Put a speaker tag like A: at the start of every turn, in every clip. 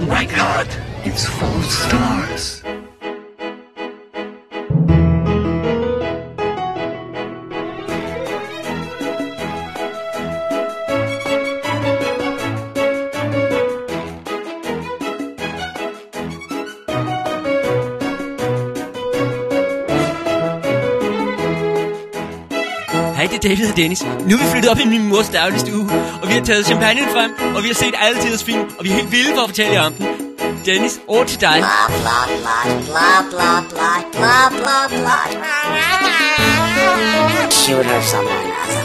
A: My god, it's full of stars.
B: Hej, det er David og Dennis. Nu er vi flyttet op i min mors daglige stue, og vi har taget champagne frem, og vi har set alle tiders film, og vi er helt vilde for at fortælle jer om den. Dennis, over til dig.
C: Blah blah blah blah blah blah blah blah blah. Shoot her someone. altså.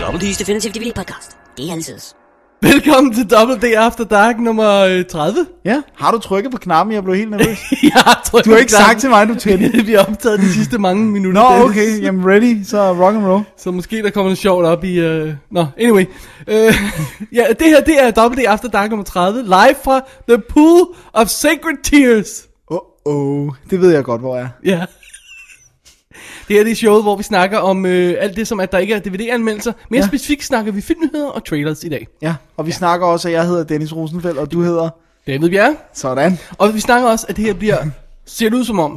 B: Dobbeltis
C: Definitive DVD podcast. Det er altid's.
D: Velkommen til Double D After Dark nummer øh, 30.
E: Ja, har du trykket på knappen? Jeg blev helt nervøs.
D: Jeg tror,
E: Du har ikke sagt til mig, at du tændte.
D: Vi har optaget de sidste mange minutter.
E: Nå,
D: Dennis.
E: okay, jamen ready, så rock and roll.
D: Så måske der kommer noget sjovt op i... Øh... Nå, anyway. Øh, ja, det her, det er Double D After Dark nummer 30. Live fra The Pool of Sacred Tears.
E: Åh, oh, oh, det ved jeg godt, hvor jeg er.
D: Ja. Det her det er showet, hvor vi snakker om øh, alt det, som at der ikke er DVD-anmeldelser. Mere ja.
E: Ja.
D: specifikt snakker vi filmnyheder og trailers i dag.
E: Ja, og vi ja. snakker også, at jeg hedder Dennis Rosenfeldt, og du hedder...
D: David Bjerre.
E: Sådan.
D: Og vi snakker også, at det her bliver, ser det ud som om,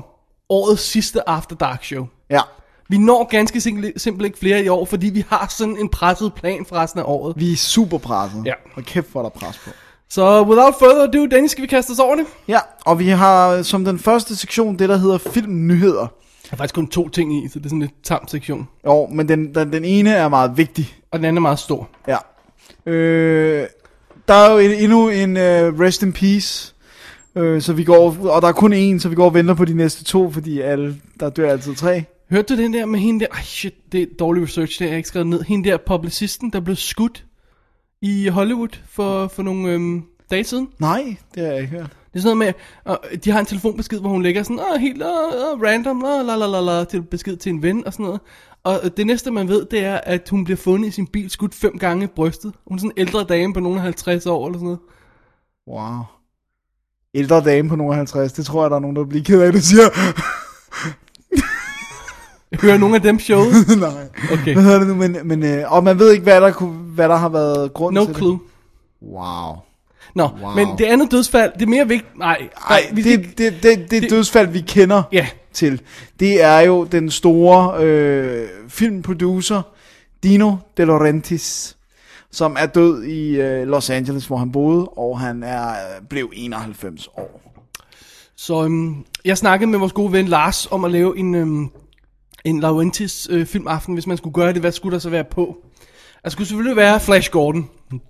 D: årets sidste After Dark show.
E: Ja,
D: Vi når ganske simpel- simpelthen ikke flere i år, fordi vi har sådan en presset plan for resten af året.
E: vi er super presset.
D: Ja.
E: Og kæft, hvor er der pres på.
D: Så without further ado, Dennis, skal vi kaste os over det?
E: Ja, og vi har som den første sektion det, der hedder filmnyheder.
D: Der er faktisk kun to ting i, så det er sådan lidt tam sektion.
E: Jo, men den, den, den ene er meget vigtig.
D: Og den anden er meget stor.
E: Ja. Øh, der er jo en, endnu en uh, rest in peace. Øh, så vi går, og der er kun en, så vi går og venter på de næste to, fordi alle, der dør altid tre.
D: Hørte du den der med hende der? Ej, shit, det er dårlig research, det har jeg ikke skrevet ned. Hende der publicisten, der blev skudt i Hollywood for, for nogle øhm, dage siden.
E: Nej, det har jeg ikke hørt.
D: Det er sådan noget med, og øh, de har en telefonbesked, hvor hun lægger sådan, åh, helt åh, åh, random, åh, la, la, la, la, til besked til en ven og sådan noget. Og øh, det næste, man ved, det er, at hun bliver fundet i sin bil, skudt fem gange i brystet. Hun er sådan en ældre dame på nogen 50 år eller sådan noget.
E: Wow. Ældre dame på nogen 50, det tror jeg, der er nogen, der bliver ked af, det siger.
D: Jeg hører nogle af dem showet.
E: Nej.
D: Okay,
E: Hvad hedder det nu? Men, men, øh, og man ved ikke, hvad der, kunne, hvad der har været grund
D: no
E: til
D: clue.
E: det. Wow.
D: Nå,
E: Wow.
D: men det andet dødsfald, det er mere vigtigt. Nej,
E: Nej,
D: vi
E: det,
D: skal
E: det, det, det, det dødsfald, vi kender
D: Ja.
E: til, det er jo den store øh, filmproducer, Dino De Laurentiis, som er død i øh, Los Angeles, hvor han boede, og han er øh, blev 91 år.
D: Så øhm, jeg snakkede med vores gode ven Lars om at lave en, øhm, en Laurentis øh, filmaften. Hvis man skulle gøre det, hvad skulle der så være på? Der skulle selvfølgelig være Flash Gordon.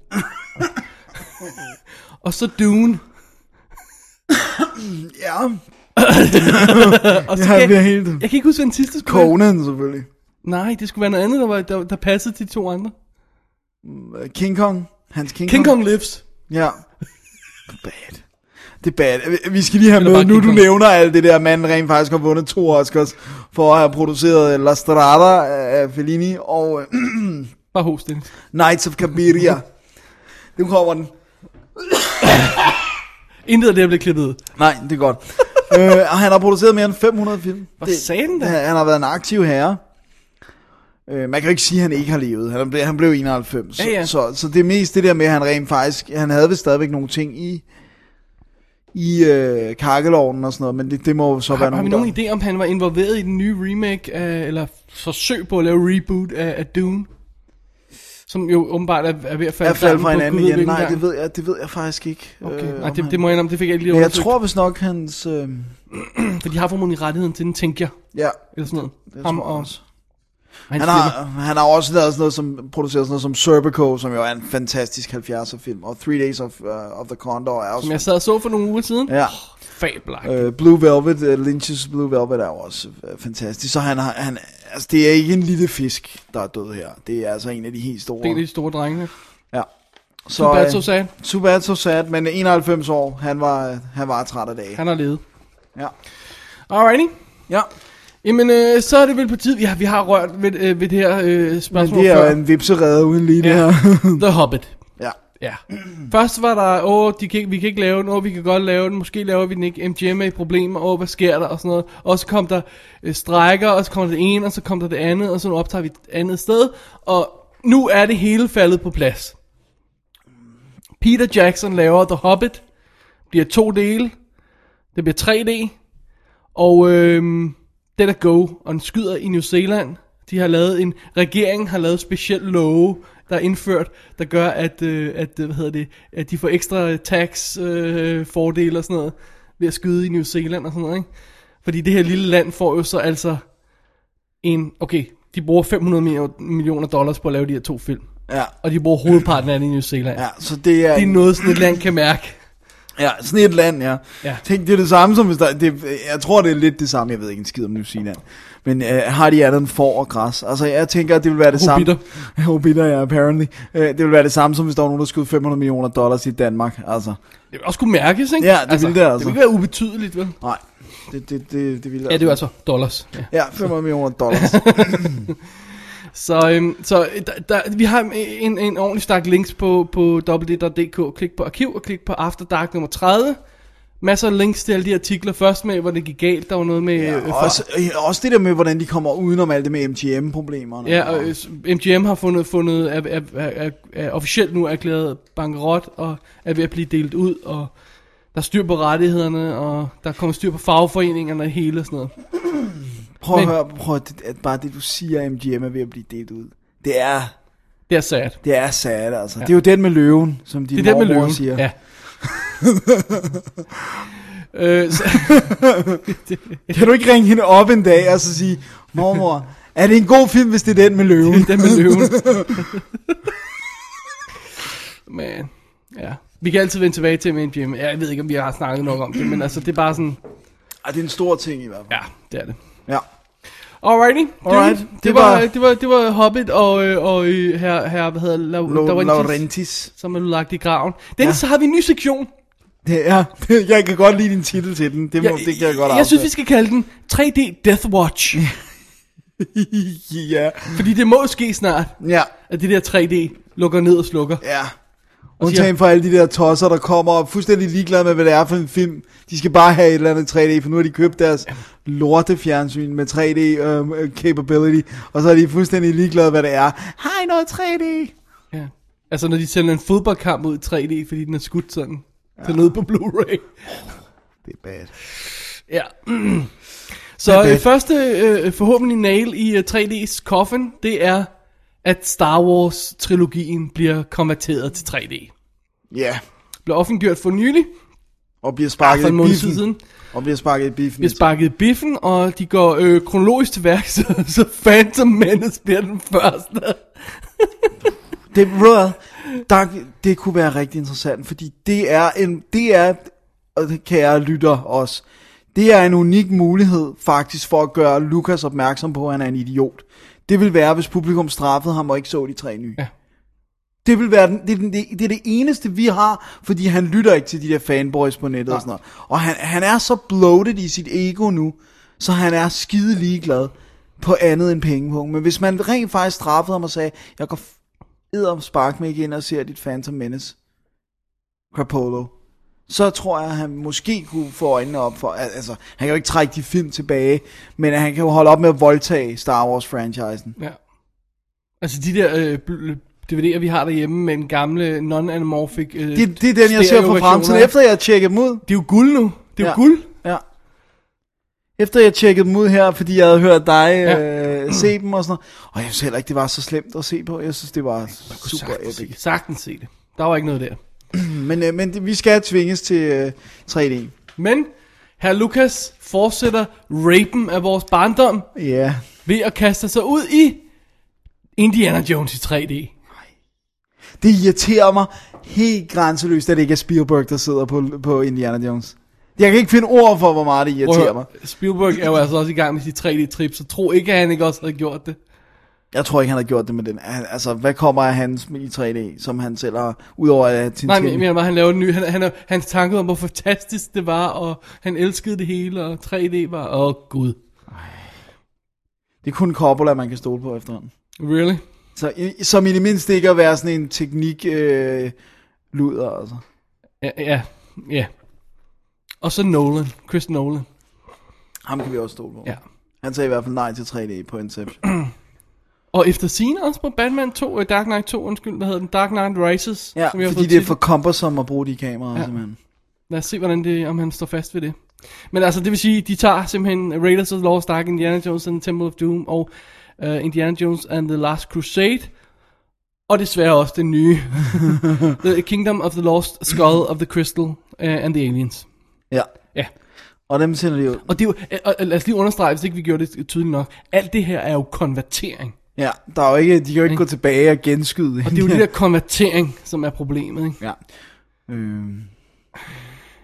D: og så Dune.
E: Ja,
D: Og så,
E: han
D: jeg,
E: bliver helt...
D: jeg kan ikke huske, hvad den sidste skulle være.
E: Conan selvfølgelig.
D: Nej, det skulle være noget andet, der, var, der, der passede til de to andre.
E: Øh, King Kong. Hans King,
D: King Kong Lives.
E: Ja. Bad. Det er bad. Vi skal lige have
D: Eller
E: med,
D: bare
E: nu
D: King
E: du
D: Kong.
E: nævner alt det der, manden rent faktisk har vundet to Oscars for at have produceret La Strada af Fellini og øh,
D: Bare host, Dennis.
E: Knights of Cabiria. nu kommer den.
D: Intet af det er blevet klippet ud.
E: Nej, det er godt. øh, og han har produceret mere end 500 film.
D: Hvad
E: Det-
D: sagde den da?
E: Han han har været en aktiv herre. Øh, man kan jo ikke sige, at han ikke har levet. Han blev, han blev 91.
D: Ja, ja.
E: Så, så, så det er mest det der med, at han rent faktisk... Han havde vist stadigvæk nogle ting i i øh, kakkeloven og sådan noget, men det, det må jo så være
D: Har, har vi
E: der-
D: nogen idé om, han var involveret i den nye remake, af, eller forsøg på at lave reboot af, af Dune? Som jo åbenbart er, er ved at falde
E: at falde
D: sammen på
E: fra hinanden
D: Gud ved
E: igen.
D: hvilken
E: Nej,
D: gang.
E: det ved, jeg, det ved jeg faktisk ikke.
D: Okay, øh,
E: om
D: Nej, det,
E: han-
D: det må jeg indrømme, det fik jeg ikke lige
E: Men jeg
D: undersøgt, tror...
E: tror vist nok, hans... Øh,
D: for de har formodentlig rettigheden til den, tænker jeg,
E: ja,
D: eller sådan noget.
E: det
D: Ham
E: tror jeg
D: og
E: også.
D: hans
E: Han har, han har også lavet sådan noget som, produceret sådan noget som Serpico, som jo er en fantastisk 70'er film, og Three Days of, uh, of the Condor er også...
D: som jeg sad og så for nogle uger siden.
E: Ja.
D: Fabelagt.
E: Uh, Blue Velvet, uh, Lynch's Blue Velvet er jo også uh, fantastisk, så han har, han, altså det er ikke en lille fisk, der er død her, det er altså en af de helt store.
D: Det er de store drengene.
E: Ja. Så,
D: Så, bad,
E: øh,
D: so sad.
E: too bad, so sad, men 91 år, han var, øh, han var træt af dage.
D: Han har levet.
E: Ja.
D: Alrighty.
E: ja,
D: Jamen, øh, så er det vel på tid. Ja, vi har rørt ved, øh, ved det her øh,
E: men
D: spørgsmål
E: det er
D: før.
E: jo en vipserede uden lige det
D: Ja.
E: her.
D: The Hobbit.
E: ja.
D: Ja. Først var der, åh, de kan, ikke- vi kan ikke lave den, åh, vi kan godt lave den, måske laver vi den ikke, MGM er i problemer, åh, hvad sker der, og sådan noget. Og så kom der øh, strækker, og så kom der det ene, og så kom der det andet, og så nu optager vi et andet sted, og nu er det hele faldet på plads. Peter Jackson laver The Hobbit, bliver to dele, det bliver 3D, og øhm, den er go, og den skyder i New Zealand. De har lavet en, regeringen har lavet speciel love, der er indført, der gør, at, øh, at, øh, hvad hedder det, at de får ekstra tax øh, fordele og sådan noget, ved at skyde i New Zealand og sådan noget, ikke? Fordi det her lille land får jo så altså en, okay, de bruger 500 millioner- millioner dollars på at lave de her to film.
E: Ja,
D: Og de bruger hovedparten af det i New Zealand.
E: ja, så det er,
D: Det er noget, sådan et land kan mærke.
E: ja, sådan et land, ja.
D: Ja.
E: Tænk, det er det samme som, hvis der, det, jeg tror, det er lidt det samme, jeg ved ikke en skid om New Zealand, men øh, har de andet får og græs? Altså, jeg tænker, at det vil være det samme. Hobbiter. ja, apparently. Øh, det vil være det samme, som hvis der var nogen, der skød 500 millioner dollars i Danmark, altså.
D: Det vil også kunne mærkes, ikke?
E: Ja, det ville det altså.
D: Det vil ikke være ubetydeligt, vel?
E: Nej, det, det, det, det ville
D: Ja, det er jo altså dollars. Ja.
E: Ja, 500 millioner dollars.
D: Så, øhm, så øh, der, der, vi har en, en ordentlig stak links på, på www.dk. Klik på arkiv og klik på After Dark nummer 30. Masser af links til alle de artikler. Først med, hvor det gik galt. Der var noget med...
E: Ja,
D: øh, for-
E: også, øh, også det der med, hvordan de kommer udenom alt det med MGM-problemerne.
D: Ja, og øh, s- MGM har fundet, fundet er, er, er, er, er officielt nu erklæret bankerot og er ved at blive delt ud, og der er styr på rettighederne, og der kommer styr på fagforeningerne og hele og sådan noget.
E: Prøv at
D: Men-
E: høre, prøv at, at bare det du siger, at MGM er ved at blive delt ud. Det er,
D: Det er sad.
E: det er sad, altså. Ja. Det er jo den med løven, som din
D: Det er det med
E: mormor
D: løven.
E: siger.
D: Ja. øh, så,
E: Kan du ikke ringe hende op en dag og så sige, mormor, er det en god film, hvis det er den med løven?
D: den med løven. Men, ja. Vi kan altid vende tilbage til med MGM. Ja, Jeg ved ikke, om vi har snakket nok om det, men altså, det er bare sådan,
E: Ej, det er en stor ting i hvert fald.
D: ja, det er det.
E: Ja.
D: Alrighty. dude.
E: Alright,
D: Det,
E: det
D: var,
E: var-
D: det, var, det var Hobbit og, øh, og øh, her, her, hvad hedder La,
E: Lo-
D: der var en tis,
E: Laurentis.
D: som er lagt i graven. Den ja. så har vi en ny sektion.
E: Det er, jeg kan godt lide din titel til den. Det, må, det kan jeg godt
D: jeg synes, vi skal kalde den 3D Death Watch.
E: vi... ja.
D: fordi det må ske snart,
E: ja,
D: at det der 3D lukker ned og slukker.
E: ja.
D: siger-
E: Undtagen for alle de der tosser, der kommer og er fuldstændig ligeglade med, hvad det er for en film. De skal bare have et eller andet 3D, for nu har de købt deres lortefjernsyn med 3D um, capability, og så er de fuldstændig ligeglade, hvad det er. Hej noget 3D!
D: Ja. Altså når de sender en fodboldkamp ud i 3D, fordi den er skudt sådan. Ja. Til ned på Blu-ray.
E: Det er bad.
D: Ja.
E: Det
D: Så
E: er
D: øh,
E: bad.
D: første øh, forhåbentlig nail i øh, 3D's coffin, det er, at Star Wars-trilogien bliver konverteret til 3D.
E: Ja, yeah.
D: Blev offentliggjort for nylig,
E: og bliver sparket
D: for en
E: i
D: måned
E: biffen.
D: siden.
E: Og bliver sparket i biffen.
D: Vi har sparket i biffen, og de går øh, kronologisk til værk, så, så Phantom Menace bliver den første.
E: Det, ved du hvad, der, det kunne være rigtig interessant, fordi det er en, det er, og det kære lytter også, det er en unik mulighed faktisk for at gøre Lukas opmærksom på, at han er en idiot. Det vil være, hvis publikum straffede ham og ikke så de tre nye.
D: Ja.
E: Det, vil være den, det, er den- det, det er det eneste, vi har, fordi han lytter ikke til de der fanboys på nettet og sådan noget. Og han, han er så bloated i sit ego nu, så han er skide ligeglad på andet end pengepunkt. Men hvis man rent faktisk straffede ham og sagde, jeg går edder om spark mig igen og ser dit Phantom Menace, Crapolo, så tror jeg, at han måske kunne få øjnene op for, al- altså, han kan jo ikke trække de film tilbage, men han kan jo holde op med at voldtage Star Wars-franchisen.
D: Ja. Altså de der øh, bl- DVD'er, vi har derhjemme med den gamle non-anamorphic... Øh,
E: Det, det er den, jeg ser for
D: stereo-versioner.
E: fremtiden, efter jeg har tjekket dem ud.
D: Det er jo guld nu. Det er ja.
E: Ja.
D: jo guld.
E: Ja. Efter jeg tjekkede dem ud her, fordi jeg havde hørt dig
D: Ja.
E: ja. øh, se dem og sådan noget. Og jeg synes heller ikke, det var så slemt at se på. Jeg synes, det var super
D: sagtens se,
E: epic.
D: det. sagtens se det. Der var ikke noget der.
E: Men, øh, men det- vi skal tvinges til øh, 3D.
D: Men herr Lukas fortsætter rapen af vores barndom
E: Ja.
D: ved at kaste sig ud i Indiana Jones i 3D.
E: Det irriterer mig helt grænseløst, at det ikke er Spielberg, der sidder på, på Indiana Jones. Jeg kan ikke finde ord for, hvor meget det
D: Prøv at
E: irriterer mig.
D: høre, Spielberg er jo altså også i gang med sit 3D-trip, så tro ikke, at han ikke også havde gjort det.
E: Jeg tror ikke, han har gjort det med den. Han- Altså, hvad kommer af hans i 3D, som han selv har, udover at Tintin?
D: Nej, men jeg mener bare, han lavede en ny, han, han, hans tanke om, hvor fantastisk det var, og han elskede det hele, og 3D var, åh oh, gud.
E: Det er kun Coppola, man kan stole på efterhånden.
D: Really?
E: Så, i- som i det mindste ikke at være sådan en teknik øh, luder, altså.
D: Ja, ja, ja. Og så Nolan, Chris Nolan.
E: Ham kan vi også stole på.
D: Ja.
E: Han sagde i hvert fald nej til 3D på Inception.
D: Og efter sine også på Batman 2, uh, Dark Knight 2, undskyld, hvad hedder den? Dark Knight Rises.
E: Ja,
D: vi har
E: fordi
D: fået
E: det er
D: titlen.
E: for cumbersome at bruge de kameraer, ja. simpelthen.
D: Lad os se, hvordan det, om han står fast ved det. Men altså, det vil sige, de tager simpelthen Raiders of the Lost Ark, Indiana Jones and the Temple of Doom, og uh, Indiana Jones and the Last Crusade, og desværre også den nye, The Kingdom of the Lost, Skull of the Crystal uh, and the Aliens.
E: Ja.
D: Ja.
E: Og dem sender de ud.
D: Og det er jo, øh, og- og lad os lige understrege, hvis ikke vi gjorde det tydeligt nok, alt det her er jo konvertering.
E: Ja, der er jo ikke, de kan jo ikke gå tilbage og genskyde.
D: Og det er jo det der konvertering, som er problemet, ikke?
E: Ja. Øhm.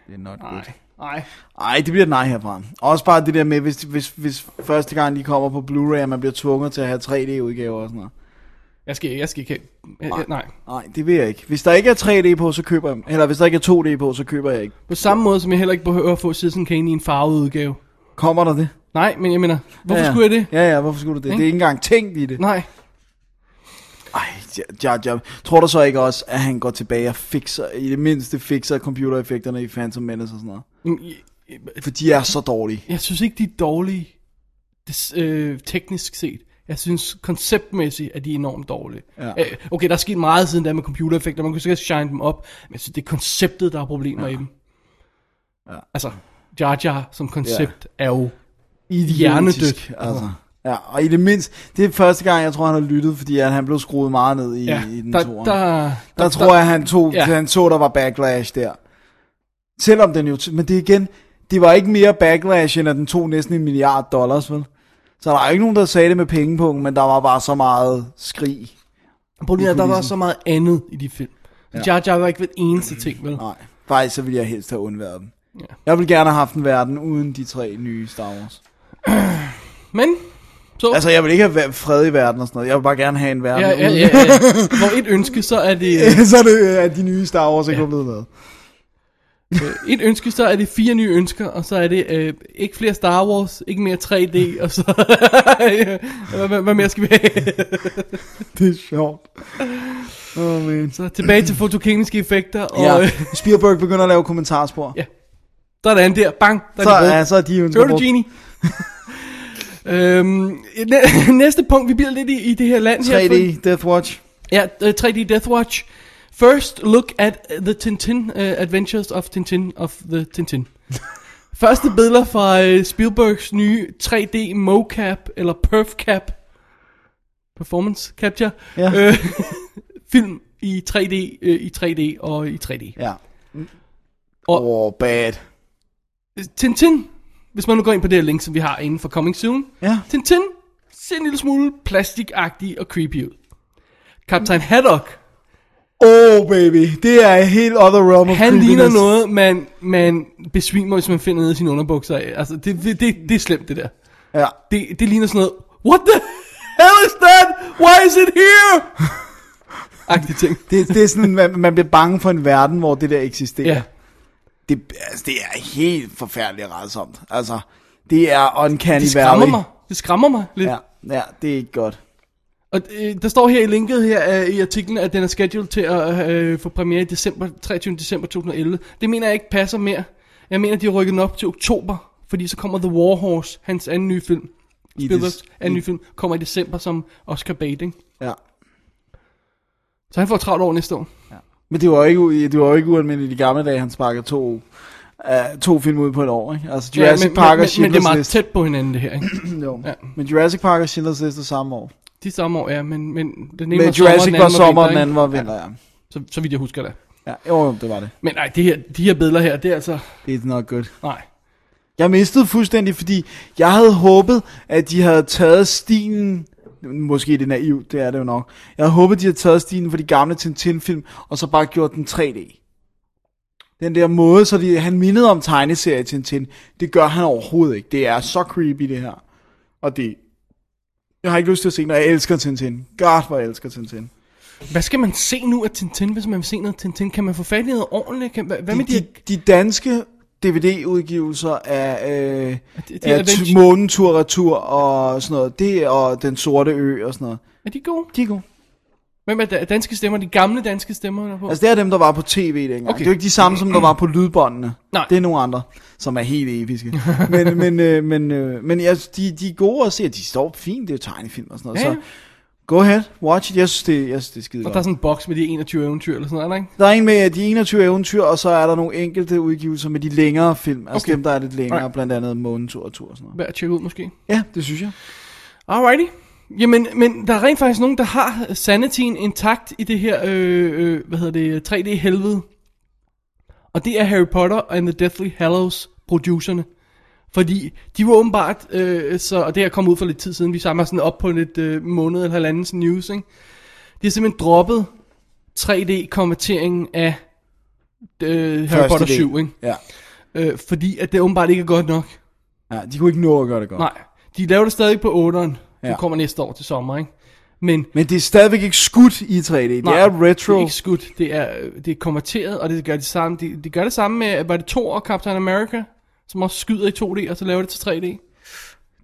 E: Det er not good.
D: Nej.
E: Ej, det bliver et nej herfra. Også bare det der med, hvis, hvis, hvis første gang de kommer på Blu-ray, og man bliver tvunget til at have 3D-udgaver og sådan noget.
D: Jeg skal, jeg skal ikke have- jeg- jeg- Nej.
E: Nej, det vil jeg ikke. Hvis der ikke er 3D på, så køber jeg Eller hvis der ikke er 2D på, så køber jeg ikke.
D: På samme måde, som jeg heller ikke behøver at få Citizen Kane i en farvet udgave.
E: Kommer der det?
D: Nej, men jeg mener, hvorfor
E: ja, ja.
D: skulle jeg det?
E: Ja, ja, hvorfor skulle du det? Mm. Det er ikke engang tænkt i det.
D: Nej.
E: Ej, ja, ja. Tror du så ikke også, at han går tilbage og fikser, i det mindste fikser computereffekterne i Phantom Menace og sådan noget?
D: Jamen, Jeg,
E: For de er så dårlige.
D: jeg synes ikke, de er dårlige des, øh, teknisk set. Jeg synes konceptmæssigt, at de er enormt dårlige.
E: Ja.
D: Øh, okay, der er sket meget siden da med computereffekter. Man kunne sikkert shine dem op. Men jeg synes, det er konceptet, der er problemer ja. i dem. Ja. Altså, Jar Jar som koncept ja. er jo...
E: idiotisk,
D: Hjernedødt.
E: Altså. Ja, og i det mindste, det er første gang, jeg tror, han har lyttet, fordi at han blev skruet meget ned i,
D: Ja,
E: i den
D: der,
E: der,
D: der, der,
E: der, der, tror jeg, han, tog,
D: Ja.
E: ja. han så, der var backlash der. Selvom den jo, men det er igen, det var ikke mere backlash, end at den tog næsten en milliard dollars, vel? Så der er ikke nogen, der sagde det med pengepunkten, men der var bare så meget skrig.
D: Problemet er, at der var
E: kulissen. Mm.
D: så meget andet i de film. Ja. Jar Jar var ikke ved eneste ting, vel?
E: Nej, faktisk så ville jeg helst have undværet dem.
D: Ja.
E: Ja. Jeg ville gerne have haft en verden uden de tre nye Star Wars.
D: Men, så...
E: Altså, jeg vil ikke have væ- fred i verden og sådan noget. Jeg vil bare gerne have en verden
D: ja, ja,
E: uden.
D: ja, ja. Hvor et ønske, så er det... øh,
E: så er det, at de nye Star Wars ikke ja. er blevet lavet.
D: Øh, Et ønske, så er det fire nye ønsker, og så er det øh, ikke flere Star Wars, ikke mere 3D, og så... hvad, hvad, hvad mere skal vi have?
E: Det er sjovt. Oh, man.
D: så tilbage til fotokemiske effekter, og
E: Ja,
D: ja. øh,
E: Spielberg begynder at lave kommentarspor.
D: Ja, der er den der, bang, der
E: så,
D: er det
E: ja, så er de jo
D: Hører du, Genie? øhm, næ- næste punkt, vi bliver lidt i, i det her land her.
E: 3D, Death Watch.
D: Ja, øh, 3D Death Watch. First look at the Tintin uh, Adventures of Tintin of the Tintin. Første billeder fra uh, Spielbergs nye 3D mocap eller perfcap performance capture
E: Ja.
D: øh, film i 3D øh, i 3D og i 3D.
E: Ja.
D: Og-
E: Åh, oh, bad.
D: Tintin, hvis man nu går ind på det her link, som vi har inden for Coming Soon.
E: Ja.
D: Tintin ser en lille smule plastikagtig og creepy ud. Kaptajn Haddock
E: Åh, oh, baby. Det er a helt other realm of
D: Han ligner
E: creepiness.
D: noget, man, man besvimer, hvis man finder ned i sine underbukser. af. Altså, det, det, det, det er slemt, det der.
E: Ja.
D: Det, det ligner sådan noget, what the hell is that? Why is it here? Agtig ting.
E: Det, det er sådan, man, man bliver bange for en verden, hvor det der eksisterer.
D: Ja.
E: Ja. Det, altså, det er helt forfærdeligt rædsomt. Altså, det er uncanny
D: Det skræmmer
E: valley.
D: mig. Det skræmmer mig lidt. Ja.
E: Ja, ja, det er ikke godt.
D: Og øh, der står her i linket her øh, i artiklen, at den er scheduled til at øh, få premiere i december, 23. december 2011. Det mener jeg ikke passer mere. Jeg mener, de har rykket den op til oktober, fordi så kommer The War Horse, hans anden nye film.
E: I
D: Spielbergs
E: det-
D: anden nye film kommer i december som Oscar bait, ikke?
E: Ja.
D: Så han får travlt over næste år.
E: Men det var jo ikke, u- det var jo ikke ualmindeligt i gamle dage, han sparkede to, uh, to film ud på et år. Ikke? Altså Jurassic
D: men,
E: Park
D: men,
E: og
D: men, men det er
E: Schindlers
D: meget
E: List.
D: tæt på hinanden, det her, ikke?
E: Jo.
D: Ja.
E: Men Jurassic Park og Schindlers List er samme år.
D: De samme år, ja, men, men den ene
E: Men
D: var sommer,
E: Jurassic
D: den
E: var
D: anden
E: sommer,
D: vinter,
E: og den
D: ikke?
E: anden var vinter. Ja.
D: Så, så vidt jeg husker det.
E: ja. Jo, jo, det var det.
D: Men nej, det her, de her billeder her, det er altså...
E: It's not good.
D: Nej.
E: Jeg mistede fuldstændig, fordi jeg havde håbet, at de havde taget stilen... Måske det er naivt, det er det jo nok. Jeg havde håbet, de havde taget stilen for de gamle Tintin-film, og så bare gjort den 3D. Den der måde, så de, han mindede om tegneserie Tintin, det gør han overhovedet ikke. Det er så creepy, det her. Og det... Jeg har ikke lyst til at se, når jeg elsker Tintin. God, hvor jeg elsker Tintin.
D: Hvad skal man se nu af Tintin, hvis man vil se noget Tintin? Kan man få fat i noget ordentligt? Kan, hvad, hvad
E: De,
D: med de...
E: de, de danske DVD-udgivelser af, øh,
D: de- de-
E: af
D: er den-
E: t- Månentur og Retur og sådan noget, det og Den Sorte Ø og sådan noget,
D: Er de gode?
E: de er gode.
D: Hvem er da- danske stemmer? De gamle danske stemmer, der er på? Altså,
E: Altså det er dem, der var på tv dengang. Okay.
D: Okay.
E: Det er jo ikke de samme, som der var på lydbåndene.
D: Nej.
E: Det er nogle andre, som er helt episke. men men, øh, men, øh, men altså, de, de er gode at se, og de står fint, det er jo tegnefilm og sådan noget.
D: Ja,
E: Så go ahead, watch it. Jeg synes, det, jeg synes, det er skide
D: og
E: godt.
D: der er sådan en boks med de 21 eventyr eller sådan noget, er der ikke?
E: Der er en med de 21 eventyr, og så er der nogle enkelte udgivelser med de længere film. Altså
D: Okay.
E: dem, der er lidt længere,
D: Alright.
E: blandt andet Månetur og Tur og sådan noget.
D: Værd at tjekke ud måske.
E: Ja, det synes jeg.
D: Alrighty. Jamen, men der er rent faktisk nogen, der har sanityen intakt i det her, øh, øh, hvad hedder det, 3D-helvede. Og det er Harry Potter and the Deathly Hallows producerne. Fordi de var åbenbart, øh, så, og det her kom ud for lidt tid siden, vi samler sådan op på lidt øh, måned eller halvandens news, ikke? De har simpelthen droppet 3D-konverteringen af øh, Harry
E: Første
D: Potter
E: del.
D: 7, ikke?
E: Ja.
D: Øh, fordi at det åbenbart ikke er godt nok.
E: ja, de kunne ikke nå at gøre det godt.
D: Nej, de laver det stadig på 8'eren. Ja.
E: Ja.
D: Den kommer næste år til sommer, ikke? Men
E: Men det er stadigvæk ikke skudt i 3D. Det
D: nej,
E: er retro.
D: Det er ikke skudt. Det er, øh, det er konverteret, og det gør det samme. De, de gør det samme med, var det Thor og Captain America, som også skyder i 2D, og så laver det til 3D.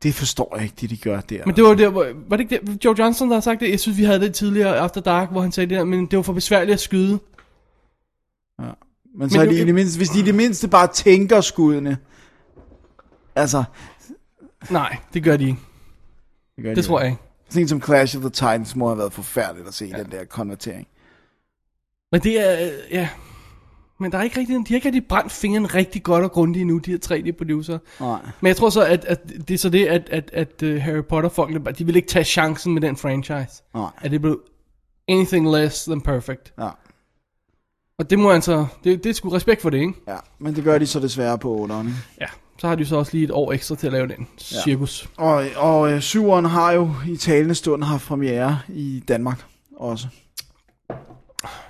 E: Det forstår jeg ikke, det de gør der.
D: Men det var der, hvor, var det ikke det, Joe Johnson, der har sagt det? Jeg synes, vi havde det tidligere After Dark, hvor han sagde det der, men det var for besværligt at skyde.
E: Men så er
D: Men
E: de
D: nu-
E: i det mindste, hvis de i det mindste bare tænker skuddene. Altså,
D: Nej, det gør de ikke.
E: gør
D: Det tror jeg ikke.
E: Sådan en som Clash of the Titans må have været forfærdeligt at se ja. den der konvertering.
D: Men det er, øh, ja... Men der er ikke rigtig, de har ikke rigtig brændt fingeren rigtig godt og grundigt endnu, de her 3D-producer.
E: Nej.
D: Men jeg tror så, at, at det er så det, at, at, at øh, Harry Potter-folkene, de vil ikke tage chancen med den franchise.
E: Nej.
D: At det blev anything less than perfect.
E: Ja.
D: Og det må altså, det, det er sgu respekt for det, ikke?
E: ja. Men det gør de så desværre på 8'eren. ikke?
D: Ja. Så har de så også lige et år ekstra til at lave den cirkus.
E: Og, og øh, 7'eren har jo i talende stund haft premiere i Danmark også.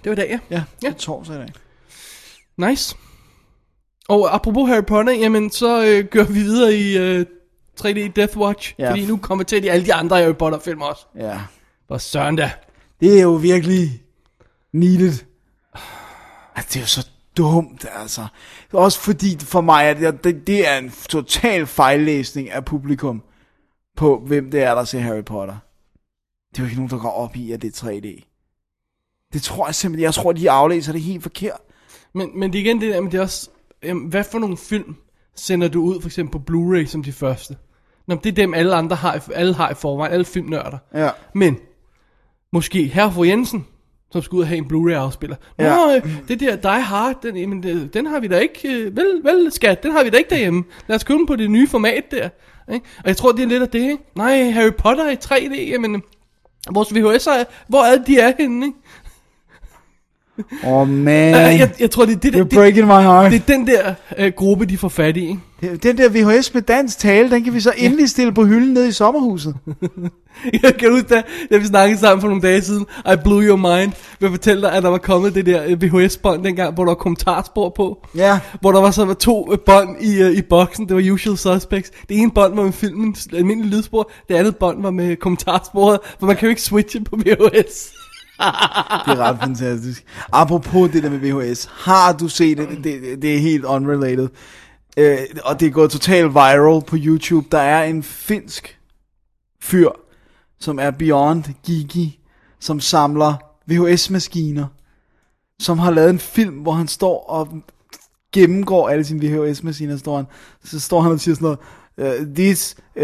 D: Det var i dag, ja.
E: Ja, ja.
D: Ja.
E: det er torsdag i dag.
D: Nice. Og apropos Harry Potter, jamen så øh, gør vi videre i øh, 3D Death Watch.
E: Ja.
D: Ja. Fordi nu kommer til de alle de andre Harry Potter-film også.
E: Ja.
D: Hvor søren da.
E: Det er jo virkelig needed. Altså, det er jo så dumt, altså. Også fordi for mig, at jeg, det, det er en total fejllæsning af publikum på, hvem det er, der ser Harry Potter. Det er jo ikke nogen, der går op i, at det er 3D. Det tror jeg simpelthen, jeg tror, de aflæser det helt forkert.
D: Men, men det er igen det der, men det er også, jamen, hvad for nogle film sender du ud, for eksempel på Blu-ray som de første? Nå, men det er dem, alle andre har, i- alle har i forvejen, alle filmnørder.
E: Ja.
D: Men, måske herre fru Jensen, som skal ud og have en Blu-ray-afspiller. Nå,
E: Ja.
D: ja. øh, det der Die Hard, den, jamen, det- den har vi da ikke, øh, vel, vel skat, den har vi da ikke derhjemme. Lad os købe den på det nye format der. Ikke? Og jeg tror, det er lidt af det, ikke? Nej, Harry Potter i 3D, jamen, øh, vores VHS'er, hvor er det, de er henne, ikke?
E: Åh, oh, man.
D: Øh, Jeg, jeg tror, det er det,
E: You're
D: det, det,
E: breaking my heart.
D: det er den der øh, gruppe, de får fat i, ikke?
E: Den der VHS med dansk tale, den kan vi så endelig stille på hylden nede i sommerhuset.
D: Jeg kan huske, da, da vi snakkede sammen for nogle dage siden, I blew your mind, ved at fortælle dig, at der var kommet det der øh, VHS-bånd dengang, hvor der var kommentarspor på.
E: Ja.
D: Hvor der var så var to øh, bånd i, øh, i boksen, det var Usual Suspects. Det ene bånd var med filmens almindelige lydspor, det andet bånd var med kommentarsporet, for man kan jo ikke switche på VHS.
E: Det er ret fantastisk. Apropos det der med VHS. Har du set det? Det, det, det er helt unrelated. Øh, og det er gået totalt viral på YouTube. Der er en finsk fyr, som er Beyond Gigi, som samler VHS-maskiner, som har lavet en film, hvor han står og gennemgår alle sine VHS-maskiner, står han, så står han og siger sådan noget, uh, this uh,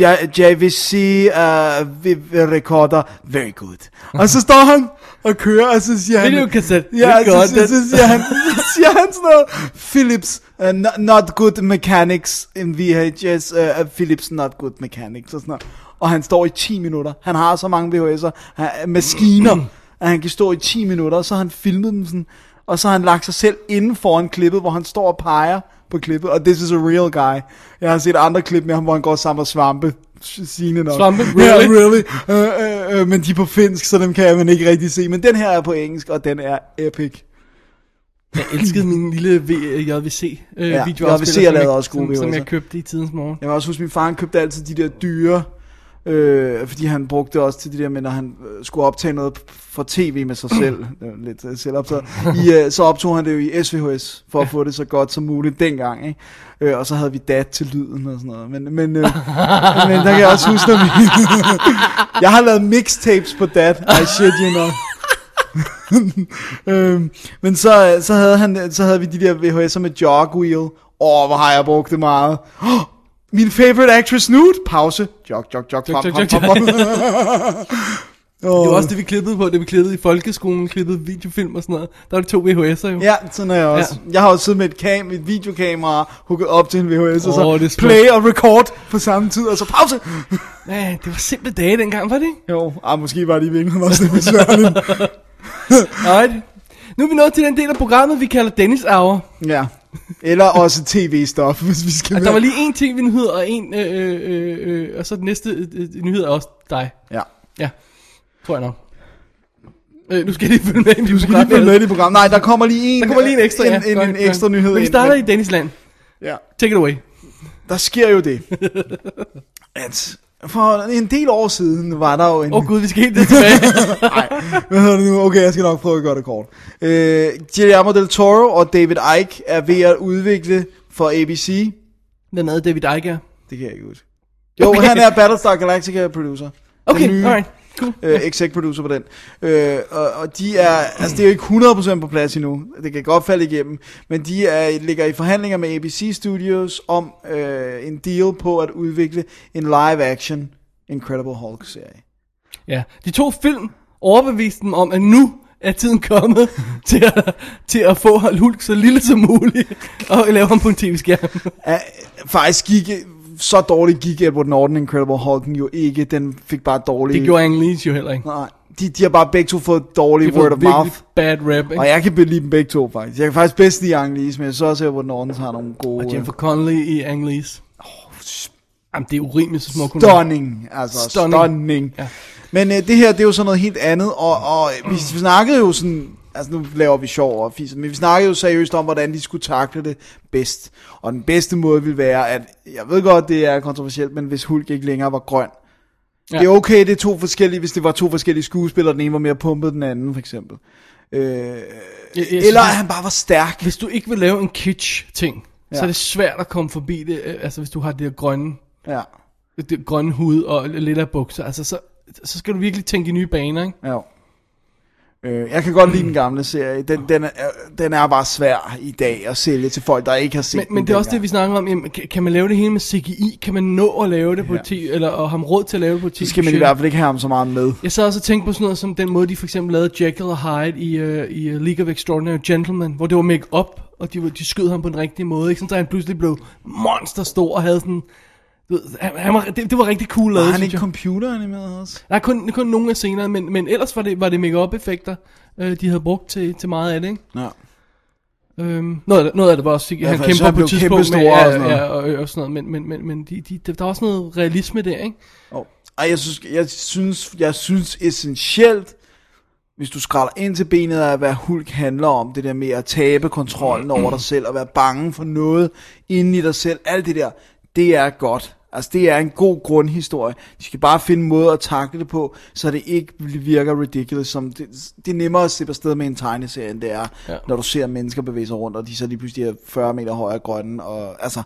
E: J- JVC uh, vi- recorder, very good. Og så står han og kører, og så siger han...
D: Videokasset,
E: Ja,
D: we got
E: så, så,
D: it.
E: så, siger han, så siger han sådan noget, Philips, uh, not, not good mechanics in VHS, uh, uh, Philips not good mechanics, og sådan noget. Og han står i 10 minutter. Han har så mange VHS'er, han- uh, maskiner, at han kan stå i 10 minutter, og så har han filmet dem sådan, og så har han lagt sig selv inden foran klippet, hvor han står og peger på klippet, og this is a real guy. Jeg har set andre klip med ham, hvor han går og samler svampe, sigende nok.
D: Svampe?
E: Ja,
D: Really?
E: really. Øh, øh, øh, men de er på finsk, så dem kan man ikke rigtig se. Men den her er på engelsk, og den er epic.
D: Jeg elskede min lille v- JVC øh,
E: Ja,
D: ja,
E: JVC er
D: videoafspiller, som,
E: lavet
D: jeg-
E: også gode
D: som, som
E: VHS'er.
D: jeg købte i tidens morgen.
E: Jeg kan også huske, at min far han købte altid de der dyre, øh, fordi han brugte det også til det der med, når han øh, skulle optage noget for tv med sig selv. Det var lidt øh, selvoptaget. I, øh, så optog han det jo i SVHS, for at få det så godt som muligt dengang. Ikke? Øh, og så havde vi dat til lyden og sådan noget. Men, men, øh, men der kan jeg også huske, at vi... jeg har lavet mixtapes på dat. I shit you know. øhm, men så, så, havde han, så havde vi de der VHS'er med jog wheel. Åh, oh, hvor har jeg brugt det meget. Oh, min favorite actress nude. Pause. Jog, jog, jog. Frem,
D: jog,
E: frem,
D: jog.
E: frem, frem.
D: Det var også det, vi klippede på, det vi klippede i folkeskolen, klippede videofilm og sådan noget. Der var de to VHS'er jo.
E: Ja, sådan er jeg også. Ja. Jeg har også siddet med et, cam, et videokamera hooket op til en VHS, oh, og
D: Åh, det er
E: så
D: smukt.
E: play og record på samme tid, og så pause.
D: Ja, det var simple dage dengang, var det ikke?
E: Jo, ah, måske var det i virkeligheden også lidt besværligt.
D: Alright. Nu er vi nået til den del af programmet, vi kalder Dennis Hour.
E: ja. Eller også tv-stof, hvis vi skal
D: Og der var lige en tv-nyhed, og en, øh, øh, øh, og så den næste øh, øh, nyhed er også dig.
E: Ja.
D: Ja, tror jeg nok. Øh, nu skal jeg lige følge med ind i
E: Du skal lige følge
D: programmet.
E: med i programmet. Nej, der kommer lige en,
D: Der kommer lige en ekstra,
E: en,
D: ja.
E: en,
D: Godt,
E: en,
D: godt.
E: ekstra nyhed.
D: Men vi
E: ind,
D: starter i Dennis land.
E: Ja.
D: Take it away.
E: Der sker jo det, at for en del år siden var der jo en...
D: Åh oh, gud, vi skal helt lidt tilbage.
E: Nej, hvad hedder det nu? Okay, jeg skal nok prøve at gøre det kort. Øh, Guillermo del Toro og David Icke er ved at udvikle for ABC.
D: Hvem er David Icke er?
E: Det kan jeg ikke huske. Jo, okay. han er Battlestar Galactica producer.
D: Okay,
E: nye-
D: alright. Cool.
E: Øh, exec producer på den. Øh, og, og de er, altså det er jo ikke 100% på plads endnu. Det kan godt falde igennem. Men de er, ligger i forhandlinger med ABC Studios om øh, en deal på at udvikle en live-action Incredible Hulk-serie.
D: Ja, de to film overbeviste dem om, at nu er tiden kommet til at, til at få Hulk Hulk så lille som muligt, og lave ham på en tv-skærm.
E: Ja, faktisk gik, så dårligt gik Edward Norton Incredible Hulken jo ikke. Den fik bare dårlige...
D: Det gjorde Ang Lees jo heller ikke.
E: Nej, de, de har bare begge to fået dårlige
D: Det
E: word of mouth.
D: bad rap, ikke?
E: Og jeg kan lide dem begge to, faktisk. Jeg kan faktisk bedst lide Ang Lee's, men jeg så også, at Edward Norton har nogle gode...
D: Og Jennifer Connelly i Ang Lees. Jamen, det er urimeligt så små kunder.
E: Stunning, altså
D: Stunning.
E: stunning. stunning.
D: Ja.
E: Ja. Mm. Men øh, det her, det er jo sådan noget helt andet, og, og vi snakkede jo sådan, altså nu laver vi sjov og fisk, men vi snakkede jo seriøst om, hvordan de skulle takle det bedst. Og den bedste måde ville være, at, jeg ved godt, det er kontroversielt, men hvis Hulk ikke længere var grøn.
D: Ja.
E: Ja. Det er okay, det er to forskellige, hvis det var to forskellige skuespillere, den ene var mere pumpet, den anden for eksempel. Øh, eller at han bare var stærk.
D: Hvis du ikke vil lave en kitsch-ting, ja. så
E: Ja.
D: er det svært at komme forbi det, øh, altså hvis du har det der grønne,
E: Ja,
D: det grønne hud og lidt af bukser, altså så, så skal du virkelig tænke i nye baner, ikke?
E: ja. Øh, jeg kan godt lide den gamle serie. Den, den, er, den er bare svær i dag at sælge til folk, der ikke har set
D: Men,
E: den
D: men det er også det,
E: dengang.
D: vi snakker om. Jamen, kan, kan man lave det hele med CGI? Kan man nå at lave det på ja. 10, eller og ham råd til at lave det på 10?
E: Så skal man i hvert fald ikke have ham så meget med.
D: Jeg sad også og tænkte på sådan noget som den måde, de for eksempel lavede Jekyll og Hyde i, uh, i øh, League of Extraordinary Gentlemen, hvor det var make-up, og de, var- de skød ham på den rigtige måde. Ikke? Sådan, så han pludselig blev monsterstor og havde sådan... Du ved, han, han var, det, det, var rigtig cool
E: Var
D: lavet,
E: han
D: synes
E: ikke
D: jeg.
E: computeranimeret også?
D: Der er kun, kun nogle af scenerne, men, men ellers var det, var det make-up effekter, øh, de havde brugt til, til meget af det, ikke?
E: Ja.
D: Øhm, noget, af det- noget af det var også, ja, han
E: for
D: kæmper
E: så han
D: på
E: blev
D: et tidspunkt med,
E: kæmpestor og sådan
D: ja,
E: noget.
D: ja, og, og sådan noget, men, men, men, men de, de, der var også noget realisme der, ikke?
E: Oh. Ej, jeg synes, jeg synes, jeg synes essentielt, hvis du skræller ind til benet af, hvad Hulk handler om, det der med at tabe kontrollen over dig selv, og være bange for noget inden i dig selv, alt det der, det er godt. Altså, det er en god grundhistorie. De skal bare finde en måde at takle det på, så det ikke virker ridiculous. Som det, det er nemmere at slippe afsted med en tegneserie, end det er,
D: Ja.
E: ja. når du ser mennesker bevæge sig rundt, og de så lige pludselig er 40 meter højere grønne, og altså,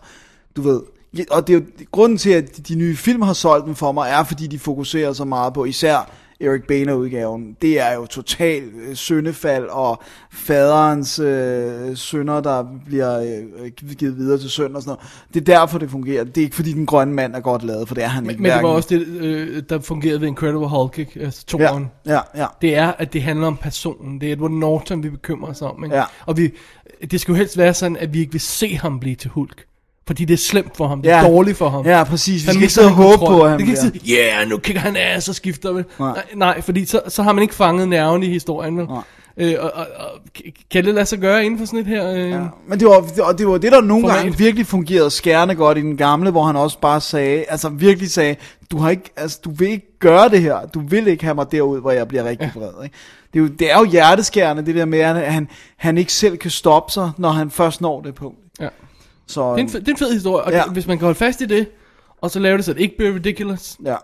E: du ved. Ja, Og det er jo, grunden til, at de- de nye film har solgt dem for mig, er fordi de fokuserer så meget på, især Eric Boehner-udgaven, det er jo total øh, søndefald, og faderens øh, sønner, der bliver øh, givet videre til søn og sådan noget. Det er derfor, det fungerer. Det er ikke fordi, den grønne mand er godt lavet, for det er han
D: Men,
E: ikke.
D: men det var
E: hverken-
D: også det, øh, der fungerede ved Incredible Hulk, ikke? Altså toren. Ja.
E: Ja, ja, ja.
D: Det er, at det handler om personen. Det er Edward Norton, vi bekymrer os om, ikke?
E: Ja.
D: Og vi, det skal jo helst være sådan, at vi ikke vil se ham blive til Hulk. Fordi det er slemt for ham, det er
E: Ja.
D: dårligt for ham.
E: Ja, præcis. Vi
D: Han
E: skal ikke
D: mister
E: sidde og
D: han
E: håbe
D: kontrol.
E: på, at han
D: Det kan
E: bliver.
D: ikke sidde, ja, yeah, nu kigger han af, så skifter vi. Nej.
E: Nej.
D: nej, nej fordi så, så har man ikke fanget nerven i historien. Vel?
E: Nej.
D: Øh, og, og, og, k- kan det lade sig gøre inden for sådan et her? Øh? Ja.
E: Ja, men det var, og det var det, der nogle
D: Format.
E: gange virkelig fungerede skærende godt i den gamle, hvor han også bare sagde, altså virkelig sagde, du, har ikke, altså, du vil ikke gøre det her, du vil ikke have mig derud, hvor jeg bliver rigtig vred. Ikke? Det, er jo, det er jo hjerteskærende, det der med, at han, han ikke selv kan stoppe sig, når han først når det punkt.
D: Ja.
E: Så, øh,
D: Det, er en, fed- det er en fed historie, og ja.
E: Ja.
D: hvis man kan holde fast i det, og så lave det, så det ikke bliver ridiculous,
E: ja.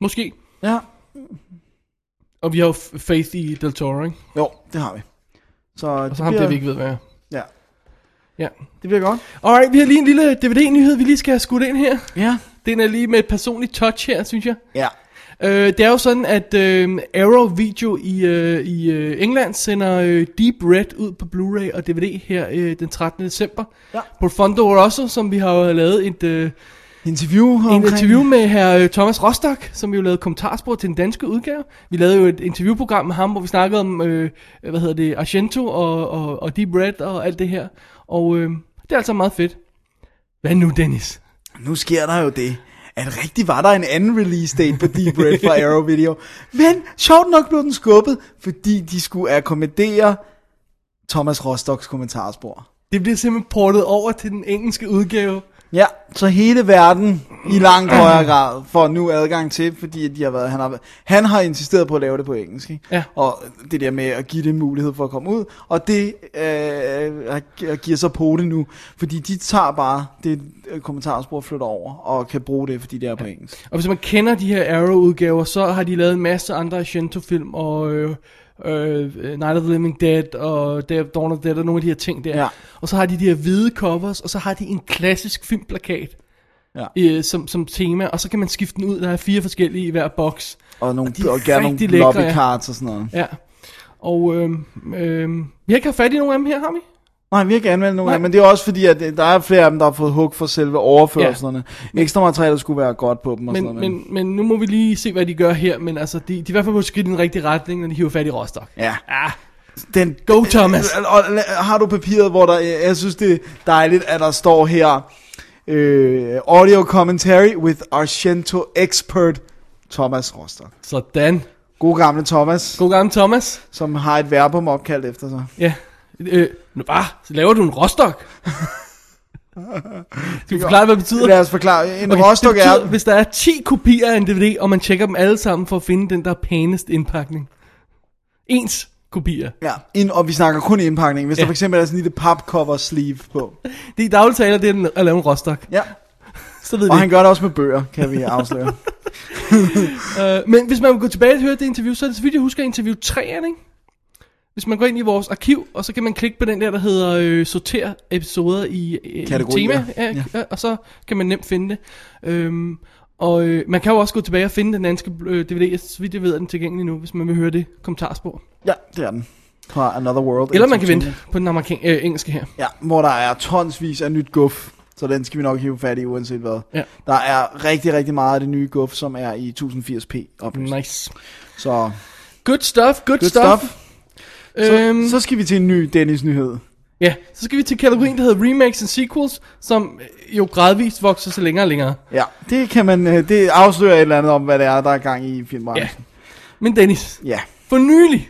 D: måske.
E: ja,
D: Og vi har jo f- faith i Del Toro, ikke?
E: jo, det har vi. Så,
D: Og
E: det,
D: så ham
E: bliver,
D: der, vi ikke ved, hvad er.
E: ja,
D: Ja.
E: det bliver godt.
D: Alright, vi har lige en lille DVD-nyhed, vi lige skal have skudt ind her.
E: Ja.
D: Den er lige med et personligt touch her, synes jeg.
E: Ja.
D: Øh, det er jo sådan, at øh, Arrow Video i, øh, i øh, England sender øh, Deep Red ud på Blu-ray og DVD her øh, den 13. december.
E: Ja.
D: Profondo Rosso, som vi har jo lavet et... Øh,
E: Interview omkring...
D: en interview med her øh, Thomas Rostock, som jo lavede kommentarspor til den danske udgave. Vi lavede jo et interviewprogram med ham, hvor vi snakkede om, øh, hvad hedder det, Argento og, og, og Deep Red og alt det her. Og øh, det er altså meget fedt. Hvad nu, Dennis?
E: Nu sker der jo det, at rigtig var der en anden release date på Deep Red fra Arrow Video. Men sjovt nok blev den skubbet, fordi de skulle akkommodere Thomas Rostocks kommentarspor.
D: Det bliver simpelthen portet over til den engelske udgave.
E: Ja, så hele verden i langt højere grad får nu adgang til, fordi at de har været, han, har, han har insisteret på at lave det på engelsk. Ikke?
D: Ja.
E: Og det der med at give det en mulighed for at komme ud, og det øh, giver så på det nu, fordi de tager bare det øh, kommentarspor og flytter over, og kan bruge det, fordi det er på engelsk.
D: Og hvis man kender de her Arrow-udgaver, så har de lavet en masse andre Argento-film, og øh, øh, Night of the Living Dead, og Day of Dawn of the Dead, og nogle af de her ting der.
E: Ja.
D: Og så har de de her hvide covers, og så har de en klassisk filmplakat
E: Ja.
D: øh, som, som tema, og så kan man skifte den ud, der er fire forskellige i hver boks.
E: Og, nogle,
D: Og de er
E: og, og gerne nogle
D: rigtig lækre,
E: lobby
D: ja.
E: cards og sådan noget.
D: Ja. Og øh, øh, vi har ikke haft fat i nogen af dem her, har vi?
E: Nej, vi har ikke anvendt nogen
D: Nej.
E: af dem, men det er også fordi, at øh, der er flere af dem, der har fået hug for selve overførslerne. Ja. Ekstra materiale skulle være godt på dem og sådan
D: Men,
E: noget.
D: men, men nu må vi lige se, hvad de gør her, men altså, de, de er i hvert fald på et skridt i den rigtige retning, når de hiver fat i Rostock.
E: Ja. ja. Den,
D: Go, Thomas.
E: Og, og, øh, har du papiret, hvor der, øh, jeg, jeg synes det er dejligt, at der står her, øh, audio commentary with Argento expert Thomas Rostock.
D: Sådan.
E: God gamle Thomas, God.
D: God gang, Thomas.
E: som har et verbum opkaldt efter sig.
D: Ja. Øh, nu bare, så laver du en Rostock. Skal vi forklare, hvad det betyder?
E: Lad os forklare. En okay,
D: det
E: Rostock
D: betyder,
E: er...
D: hvis der er 10 kopier af en DVD, og man tjekker dem alle sammen for at finde den, der er pænest indpakning. Ens kopier.
E: Ja, ind, og vi snakker kun indpakning. Hvis ja. der for eksempel er sådan en lille papcover sleeve på.
D: Det i daglig taler, det er den- at lave en Rostock.
E: Ja,
D: Så ved
E: og
D: det.
E: han gør det også med bøger, kan vi afsløre.
D: Øh, men hvis man vil gå tilbage og høre det interview, så er det så vidt, jeg husker interview 3, er det ikke? Hvis man går ind i vores arkiv, og så kan man klikke på den der, der hedder øh, Sorter episoder i, øh, i
E: Kategorier.
D: tema. Ja, ja. Og så kan man nemt finde det. Øhm, og øh, man kan jo også gå tilbage og finde den danske øh, DVD, så vidt jeg ved, er den tilgængelig nu, hvis man vil høre det kommentarspor.
E: ja, det er den. Fra Another World.
D: Eller man kan
E: Entertainment.
D: vente på den amerikan- øh, engelske her.
E: Ja, hvor der er tonsvis af nyt guf. Så den skal vi nok hive fat i, uanset hvad.
D: Ja.
E: Der er rigtig, rigtig meget af det nye guf, som er i 1080p opløst.
D: Mm, Nice.
E: Så,
D: Good stuff, good,
E: good
D: stuff.
E: stuff.
D: Øhm,
E: Så, så skal vi til en ny Dennis-nyhed.
D: Ja, så skal vi til kategorien, der hedder remakes and sequels, som øh, jo gradvist vokser sig længere og længere.
E: Ja, det kan man, øh, det afslører et eller andet om, hvad det er, der er gang i filmbranchen.
D: Men Dennis,
E: Ja. ja.
D: for nylig,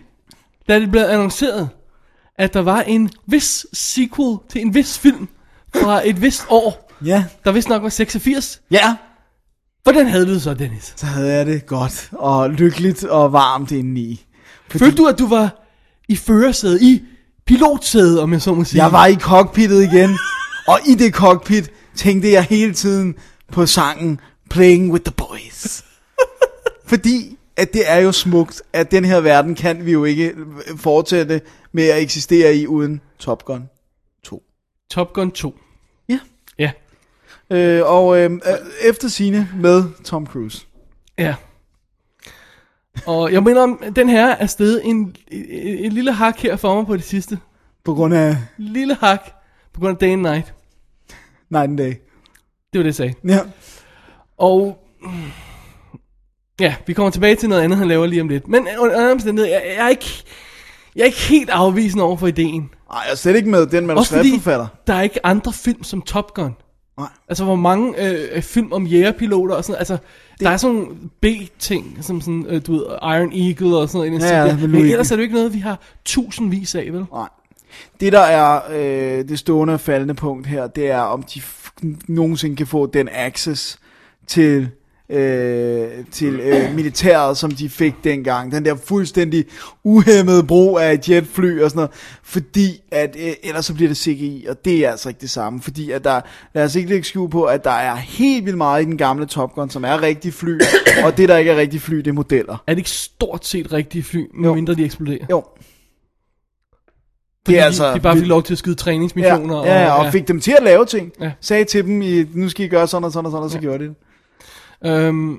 D: da det blev annonceret, at der var en vis sequel til en vis film fra et vist år,
E: Ja.
D: der vist nok var 86.
E: Ja.
D: Hvordan havde du det så, Dennis?
E: Så havde jeg det godt og lykkeligt og varmt indeni. Fordi
D: Følte du, at du var i førersædet, i pilotsædet, om jeg så må sige?
E: Jeg var i cockpittet igen, og i det cockpit tænkte jeg hele tiden på sangen Playing with the Boys. Fordi at det er jo smukt, at den her verden kan vi jo ikke fortsætte med at eksistere i uden Top Gun 2.
D: Top Gun 2.
E: Ja.
D: Ja.
E: Øh, og øh, øh, efter sine med Tom Cruise.
D: Ja. Og jeg mener om, at den her er stedet en, en, en lille hak her for mig på det sidste.
E: På grund af
D: Lille hak på grund af Day and Night.
E: Night and Day.
D: Det var det, jeg sagde.
E: Ja.
D: Og mm, ja, vi kommer tilbage til noget andet, han laver lige om lidt. Men øh, under alle omstændigheder, jeg, jeg, er ikke, jeg er ikke helt afvisende over for ideen.
E: Ej, jeg er slet ikke med den
D: Også fordi
E: manuskriptforfatter.
D: der er ikke andre film som Top Gun.
E: Nej.
D: Altså hvor mange øh, film om jægerpiloter og sådan noget. Altså det... der er sådan nogle B-ting, som sådan, øh, du ved, Iron Eagle og sådan noget.
E: Ja, ja, men
D: men,
E: nu
D: men
E: ikke.
D: ellers er det jo ikke noget, vi har tusindvis af, vel?
E: Nej. Det der er øh, det stående og faldende punkt her, det er om de f- nogensinde kan få den access til øh, til øh, militæret, som de fik dengang. Den der fuldstændig uhæmmede brug af jetfly og sådan noget. Fordi at, øh, ellers så bliver det CGI, og det er altså ikke det samme. Fordi at der, lad os ikke lægge skjul på, at der er helt vildt meget i den gamle Top Gun, som er rigtig fly, og det der ikke er rigtig fly, det er modeller.
D: Er det ikke stort set rigtige fly, medmindre de eksploderer?
E: Jo.
D: Fordi
E: det er altså-
D: de, de bare fik
E: vi-
D: lov til at skyde træningsmissioner.
E: Ja, ja, ja, og fik dem til at lave ting.
D: Ja.
E: Ja. Sagde til dem, I, nu skal I gøre sådan og sådan og sådan, og så ja. gjorde de det.
D: Øhm,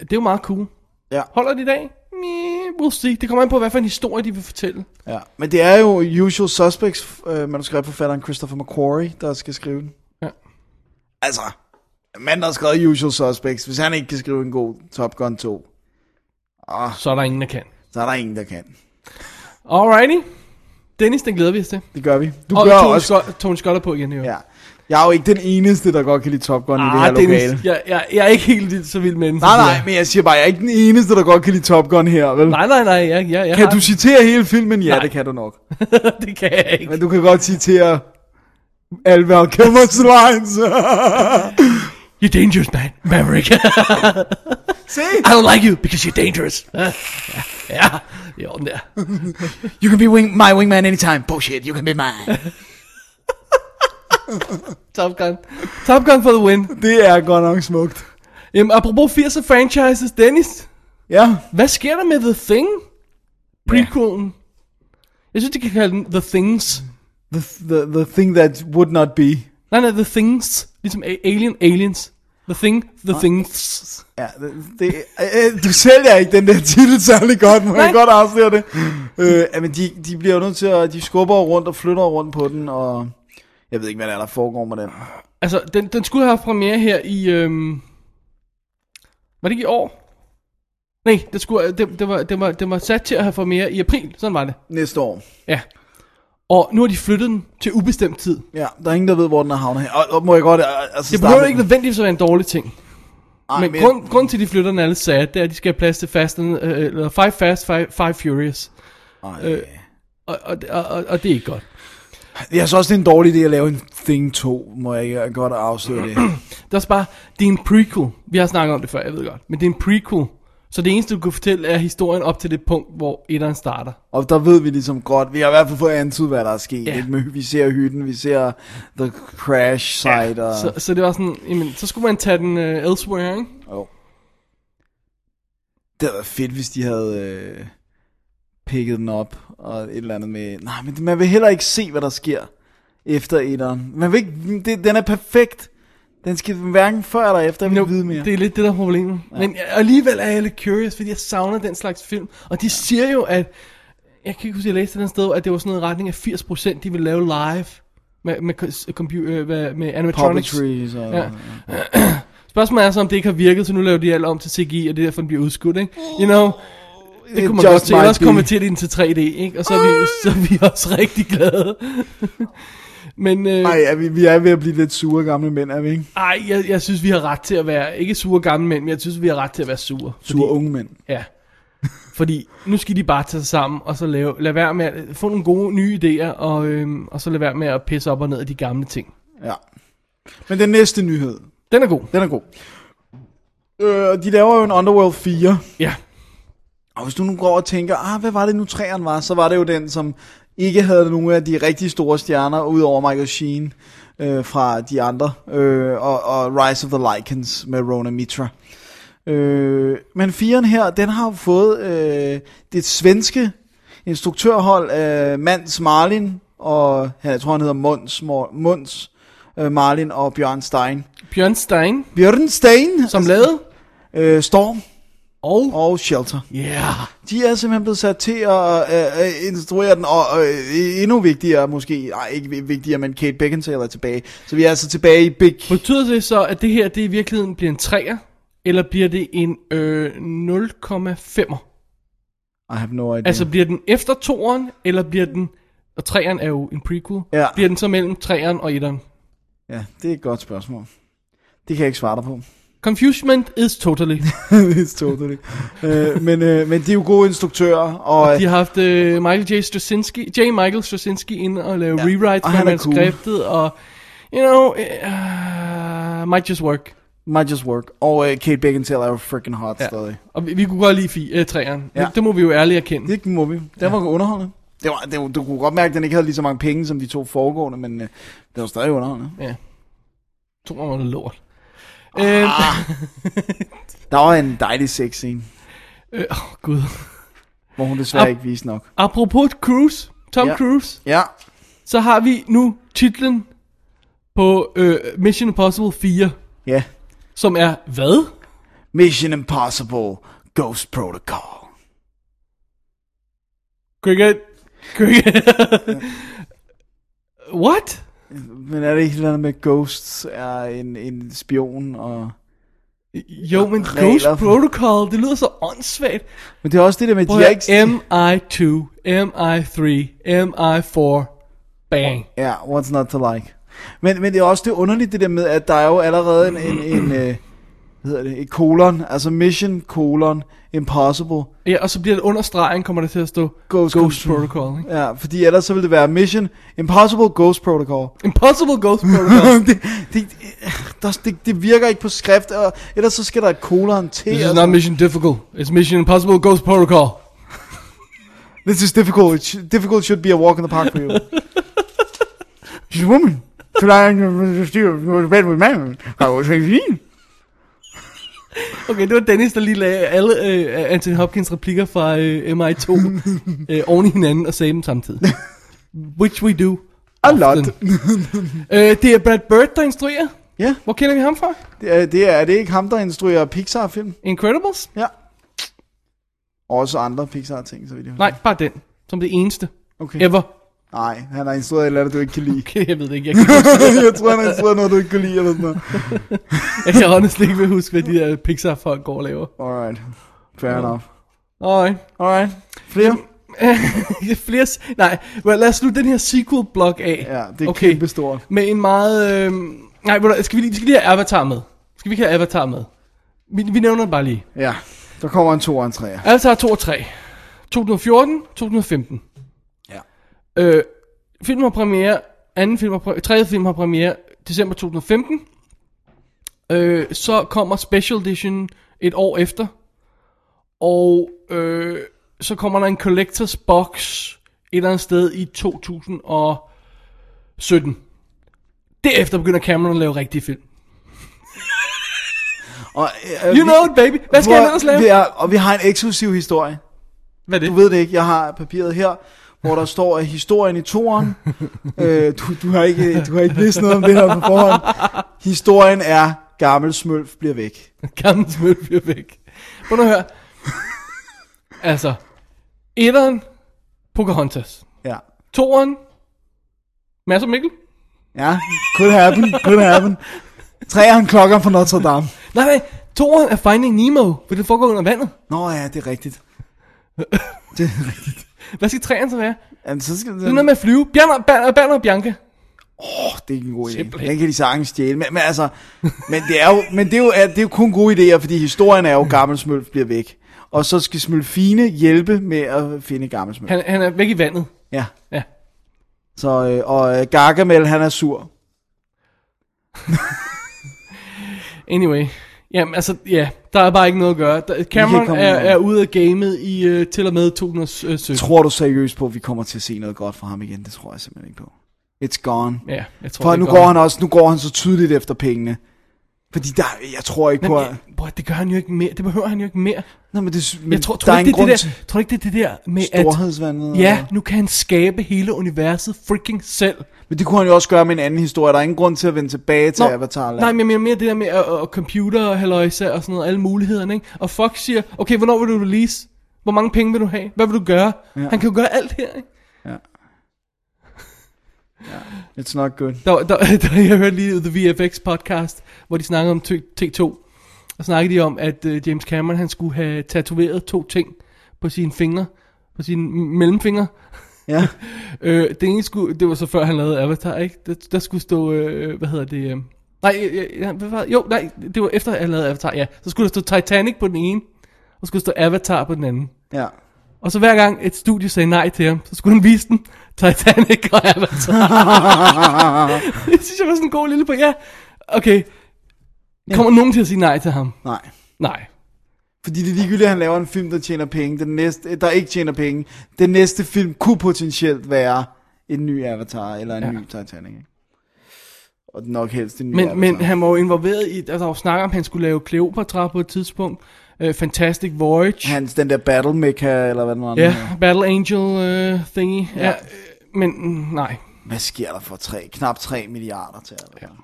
D: det er jo meget cool.
E: Ja.
D: Holder de i dag? Meh, We'll see. Det kommer an på, hvad for en historie de vil fortælle.
E: Ja, men det er jo Usual Suspects, øh, manuskriptforfatteren Christopher McQuarrie, der skal skrive den.
D: Ja.
E: Altså, manden, der har skrevet Usual Suspects, hvis han ikke kan skrive en god Top Gun 2, Ah.
D: Så er der ingen, der kan.
E: så er der ingen, der kan.
D: Alrighty. Dennis, den glæder vi os til.
E: Det gør vi. Du
D: Og
E: gør
D: Tony,
E: også.
D: Scott, Tony Scott er på igen i år.
E: Ja. Jeg er jo ikke den eneste, der godt kan lide Top Gun i det her
D: Ah,
E: lokale.
D: Dennis, jeg, jeg, jeg er ikke helt vildt så vild med den.
E: Nej,
D: som du
E: nej,
D: er.
E: men jeg siger bare, jeg er ikke den eneste, der godt kan lide Top Gun her, vel?
D: Nej, nej, nej, jeg, jeg, jeg
E: Kan
D: har-
E: du citere hele filmen? Ja,
D: Nej.
E: det kan du nok.
D: det kan jeg ikke.
E: Men du kan godt citere alle Val Kilmers lines.
D: You're dangerous, man. Maverick.
E: Se,
D: I don't like you, because you're dangerous. ja, ja, det er orden der.
E: you can be wing, my wingman anytime. Bullshit, you can be mine.
D: Top Gun. Top Gun for the win.
E: Det er godt nok smukt.
D: Jamen, apropos 80'er franchises, Dennis.
E: Ja,
D: Hvad sker der med The Thing? Prequelen. Jeg synes, de kan kalde den The Things.
E: the, the, the thing that would not be.
D: Nej, nej, The Things. Ligesom A- Alien, Aliens. The Thing, The Things.
E: Ja, det, det, øh, du sælger ikke den der titel særlig godt, må jeg
D: Nej.
E: godt afsløre det. Øh, men de, de bliver jo nødt til at, de skubber jo rundt og flytter rundt på den, og jeg ved ikke, hvad der, er, der foregår med den.
D: Altså, den, den skulle have haft premiere her i... Øhm... Var det ikke i år? Nej, det, skulle, det, det, var, det, var, det var sat til at have premiere i april. Sådan var det.
E: Næste år.
D: Ja. Og nu har de flyttet den til ubestemt tid.
E: Ja, der er ingen, der ved, hvor den er havnet hen. Og, og må jeg godt... øh, Altså,
D: Det
E: starte
D: behøver
E: med
D: ikke
E: den?
D: nødvendigvis at være en dårlig ting.
E: Ej,
D: Men grund, grund til, at de flytter den alle sad, det er, at de skal have plads til fast, and, øh, eller Five Fast, Five, five Furious.
E: Ej,
D: Og, og, og, og, og det er ikke godt.
E: Jeg synes også, det er en dårlig idé at lave en Thing 2, må jeg ikke godt afsløre
D: Det
E: det.
D: er også bare, det er en prequel. Vi har snakket om det før, jeg ved godt. Men det er en prequel. Så det eneste, du kan fortælle, er historien op til det punkt, hvor etteren starter.
E: Og der ved vi ligesom godt, vi har i hvert fald fået antydet, hvad der er sket.
D: Ja.
E: Yeah. Med, vi ser hytten, vi ser The Crash Site. og...
D: Så, så det var sådan, jamen, så skulle man tage den uh, elsewhere, ikke?
E: Jo. Det havde været fedt, hvis de havde øh, picket den op, og et eller andet med... Nej, men man vil heller ikke se, hvad der sker efter etteren. Man vil ikke... Det, den er perfekt. Den skal hverken før eller efter, jeg vil
D: Jo,
E: ikke vide mere.
D: Det er lidt det, der er problemet. Ja. Men jeg- alligevel er jeg lidt curious, fordi jeg savner den slags film. Og de siger jo, at... Jeg kan ikke huske, at jeg læste et eller andet sted, at det var sådan noget i retning af 80%, de ville lave live med, med, øh, med, computer, med, med animatronics.
E: Puppetry, så...
D: Ja. Spørgsmålet er så, om det ikke har virket, så nu laver de alt om til CGI, og det er derfor, den bliver udskudt, ikke? You know, det kunne man godt se. Ellers kommer til den til 3D, ikke? Og så er vi, så er vi også rigtig glade. Men øh,
E: Nej, ja, vi, vi er ved at blive lidt sure gamle mænd, er vi ikke?
D: ej, jeg, jeg synes, vi har ret til at være, ikke sure gamle mænd, men jeg synes, vi har ret til at være sure.
E: Sure Fordi... unge mænd.
D: Ja. Fordi nu skal de bare tage sig sammen, og så lave, lade være med at få nogle gode nye idéer, og, øhm, og så lade være med at pisse op og ned af de gamle ting.
E: Ja. Men den næste nyhed,
D: Den er god.
E: den er god. Øh, de laver jo en Underworld 4.
D: Ja.
E: Og hvis du nu går og tænker, ah, hvad var det nu træerne var, så var det jo den, som ikke havde nogen af de rigtig store stjerner, udover Michael Sheen øh, fra de andre, øh, og, og Rise of the Lycans med Rona Mitra. Øh, men firen her, den har jo fået øh, det svenske instruktørhold af Mans Marlin, og jeg tror han hedder Mons, Mor- Mons øh, Marlin og Bjørn Stein.
D: Bjørn Stein,
E: Bjørn Stein,
D: som lavede,
E: øh, Storm
D: og...
E: og Shelter.
D: Yeah.
E: De er simpelthen blevet sat til at øh, øh, instruere den, og øh, endnu vigtigere måske, nej ikke vi- vigtigere, men Kate Beckinsale er tilbage. Så vi er altså tilbage i Big...
D: Betyder det så, at det her det i virkeligheden bliver en 3'er, eller bliver det en øh, 0,5'er?
E: I have no idea.
D: Altså bliver den efter 2'eren, eller bliver den... Og 3'eren er jo en prequel.
E: Ja.
D: Bliver den så mellem 3'eren og 1'eren?
E: Ja, det er et godt spørgsmål. Det kan jeg ikke svare dig på.
D: Confusion is totally.
E: It's totally. øh, men, øh, men de er jo gode instruktører, og...
D: De har haft øh, Michael J. Straczynski, J. Michael Straczynski ind og lave ja, rewrites
E: og
D: på
E: han er cool.
D: manuskriptet, og you know, uh, might just work.
E: Might just work. Og øh, Kate Beckinsale er jo freaking hot ja. stadig.
D: Og vi, vi kunne godt lide fi, øh, træerne. Ja.
E: Ja.
D: Det, det må vi jo ærligt erkende.
E: Det må vi. Den ja. var underholdende. Det var, det, var- du kunne godt mærke, at den ikke havde lige så mange penge som de to foregående, men øh, det var stadig underholdende.
D: Ja. To år var det lort. Øh,
E: Ah. Der var en dejlig sex scene,
D: øh, oh, gud.
E: hvor hun desværre
D: Ap-
E: ikke viste nok.
D: Apropos Cruise, Tom
E: Ja.
D: Cruise,
E: Ja,
D: så har vi nu titlen på øh, Mission Impossible 4,
E: ja.
D: som er hvad?
E: Mission Impossible Ghost Protocol.
D: Cricket. Cricket. What?
E: Men er det ikke noget med, Ghosts er en, en spion? Og...
D: Jo, men
E: Regler
D: Ghost
E: for-
D: Protol, det lyder så åndssvagt.
E: Men det er også det der med,
D: Prøv
E: de er
D: at
E: ikke...
D: høre, MI2, MI3, MI4, bang.
E: Ja, what's not to like. Men, men det er også det underlige, det der med, at der er jo allerede en, en, en øh, hvad hedder det, et colon, altså mission colon, impossible.
D: Ja, og så bliver det under stregen, kommer det til at stå
E: Ghost-
D: Ghost,
E: Ghost-
D: Ghost Protocol. Ikke?
E: Ja, fordi ellers så ville det være mission impossible ghost protocol.
D: Impossible Ghost Protocol.
E: det, det, der, det, det virker ikke på skrift, og ellers så skal der et colon til.
D: This is
E: og
D: not
E: sådan-
D: mission difficult. It's mission impossible Ghost Protocol.
E: This is difficult. It sh- difficult should be a walk in the park for you. She's a woman. Tonight you was bed with man. I was 18.
D: Okay, det var Dennis, der lige lagde alle øh, Anthony Hopkins replikker fra øh, MI2 øh, oven i hinanden og sagde dem samtidig. Which we do.
E: A lot.
D: øh, det er Brad Bird, der instruerer.
E: Ja,
D: Hvor kender vi ham fra?
E: det er, det er, er det ikke ham, der instruerer Pixar-film?
D: Incredibles?
E: Ja. Og Også andre Pixar-ting, så vidt jeg
D: Nej, bare den. Som det eneste.
E: okay.
D: Ever.
E: Nej, han har instrueret et eller andet, du ikke kan lide.
D: Okay, jeg ved det ikke. Jeg kan,
E: jeg tror, han har instrueret noget, du ikke kan lide eller sådan noget.
D: jeg kan honestly ikke vil huske, hvad de der Pixar-folk går og laver.
E: Alright. Fair enough.
D: Alright.
E: Alright. Flere?
D: Flere... s- Nej, well, lad os slutte den her sequel-blog af.
E: Ja, det er okay.
D: Okay.
E: kæmpe stort.
D: Med en meget... Øh... Nej, ved du hvad, skal vi, lige, vi skal lige have Avatar med. Skal vi ikke have Avatar med? Vi, vi nævner den bare lige.
E: Ja, der kommer en 2 og en 3.
D: Avatar 2 og 3. 2014, 2015.
E: Ja.
D: Øh, film har premiere, anden film har premiere, tredje film har premiere, december 2015. Øh, så kommer Special Edition et år efter. Og øh, så kommer der en Collectors Box et eller andet sted i 2017. Derefter begynder Cameron at lave rigtige film.
E: Og, øh,
D: You know it, baby. Hvad skal
E: Hvor-
D: jeg ellers lave?
E: Vi er, og vi har en eksklusiv historie.
D: Hvad er det?
E: Du ved det ikke, jeg har papiret her, hvor der står, at historien i toren, øh, du, du, har ikke, du har ikke vidst noget om det her på forhånd, historien er, gammel smølf bliver væk.
D: Gammel smøl bliver væk. Prøv nu at høre. altså, etteren, Pocahontas.
E: Ja.
D: Toeren, Mads og Mikkel.
E: Ja, could happen, could happen. Træeren klokker fra Notre Dame.
D: Nej, nej, toeren er Finding Nemo, for det foregår under vandet.
E: Nå ja, det er rigtigt.
D: Hvad skal træerne så være?
E: Jamen, så skal
D: Det er noget med at flyve. Bjerner, Banner, Banner og Bianca.
E: Åh, det er ikke en god idé.
D: Simpelthen.
E: Den kan de sagtens stjæle. Men, men altså, men det er jo, men det er jo, at det er jo kun gode idéer, fordi historien er jo, gammel smølf bliver væk. Og så skal Smølfine hjælpe med at finde gammel smølf.
D: Han, han er væk i vandet.
E: Ja.
D: Ja.
E: Så, øh, og øh, Gargamel, han er sur.
D: Anyway. Jamen altså, ja, der er bare ikke noget at gøre. Der, Cameron
E: komme
D: er,
E: videre.
D: er ude af gamet i øh, til og med 2017.
E: Tror du seriøst på, at vi kommer til at se noget godt fra ham igen? Det tror jeg simpelthen ikke på. It's gone.
D: Ja, jeg tror,
E: For
D: det
E: nu
D: går.
E: går han også, nu går han så tydeligt efter pengene. Fordi der, jeg tror ikke på... at-
D: Men, øh, ja, det gør han jo ikke mere. Det behøver han jo ikke mere.
E: Nå, men det, men
D: Men jeg tror,
E: der
D: tror,
E: er
D: ikke,
E: en
D: det er
E: grund
D: det
E: til
D: der, tror ikke, det er det der med, at
E: storhedsvandet.
D: ja, nu kan han skabe hele universet freaking selv.
E: Men det kunne han jo også gøre med en anden historie. Der er ingen grund til at vende tilbage til Avatar.
D: nej, men jeg mener mere det der med at, at computer og halløjsa og sådan noget, alle mulighederne, ikke? Og Fox siger, okay, hvornår vil du release? Hvor mange penge vil du have? Hvad vil du gøre? Ja. Han kan jo gøre alt her, ikke?
E: It's not good.
D: Der, der, der, jeg hørte lige The VFX podcast, hvor de snakkede om T- T2. Og snakkede de om, at uh, James Cameron han skulle have tatoveret to ting på sine fingre. På sine m- mellemfingre.
E: Ja.
D: Øh, det ene skulle, det var så før han lavede Avatar, ikke? Der, der skulle stå, øh, hvad hedder det? Øh, nej, øh, ja, hvad var, jo, nej, det var efter han lavede Avatar, ja. Så skulle der stå Titanic på den ene, og skulle stå Avatar på den anden.
E: ja.
D: Og så hver gang et studie sagde nej til ham, så skulle han vise den Titanic og Avatar. det synes jeg var sådan en god lille på, ja. Okay, kommer nogen til at sige nej til ham?
E: Nej.
D: Nej.
E: Fordi det er ligegyldigt, at han laver en film, der tjener penge. Den næste, der ikke tjener penge. Den næste film kunne potentielt være en ny Avatar, eller en ja.
D: Ja.
E: ny Titanic. Ikke? Og nok helst en ny
D: Men,
E: Avatar.
D: men han var jo involveret i, altså der var snak om, at han skulle lave Cleopatra på et tidspunkt. Øh, Fantastic Voyage.
E: Hans, den der Battle Mecha, eller hvad den var. den
D: Ja,
E: hedder.
D: Battle Angel uh, thingy. Ja. ja øh, men mm, nej.
E: Hvad sker der for tre, knap 3 milliarder til Avatar? Ja.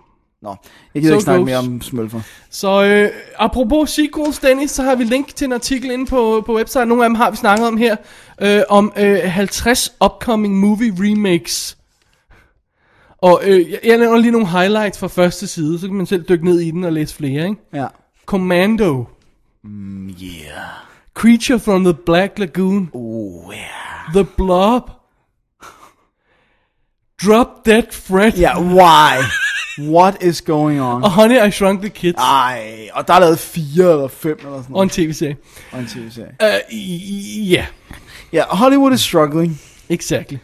E: Nå, jeg gider
D: So
E: ikke snakke
D: gross.
E: mere om smølfer.
D: Så øh, apropos sequels, Dennis, så har vi link til en artikel inde på, på website. Nogle af dem har vi snakket om her. Øh, om øh, 50 upcoming movie remakes. Og øh, jeg, jeg nævner lige nogle highlights fra første side, så kan man selv dykke ned i den og læse flere, ikke?
E: Ja.
D: Commando. Mm, yeah. Creature from the Black Lagoon. Oh, yeah. The Blob. Drop Dead Fred.
E: Ja, why? What is going on?
D: Og Honey, I Shrunk the Kids. Ah.
E: Ej, og der er lavet fire eller fem eller sådan
D: Og en
E: noget.
D: tv-serie.
E: Og en tv-serie.
D: Uh, i- ja.
E: Ja, Hollywood is struggling.
D: Exactly.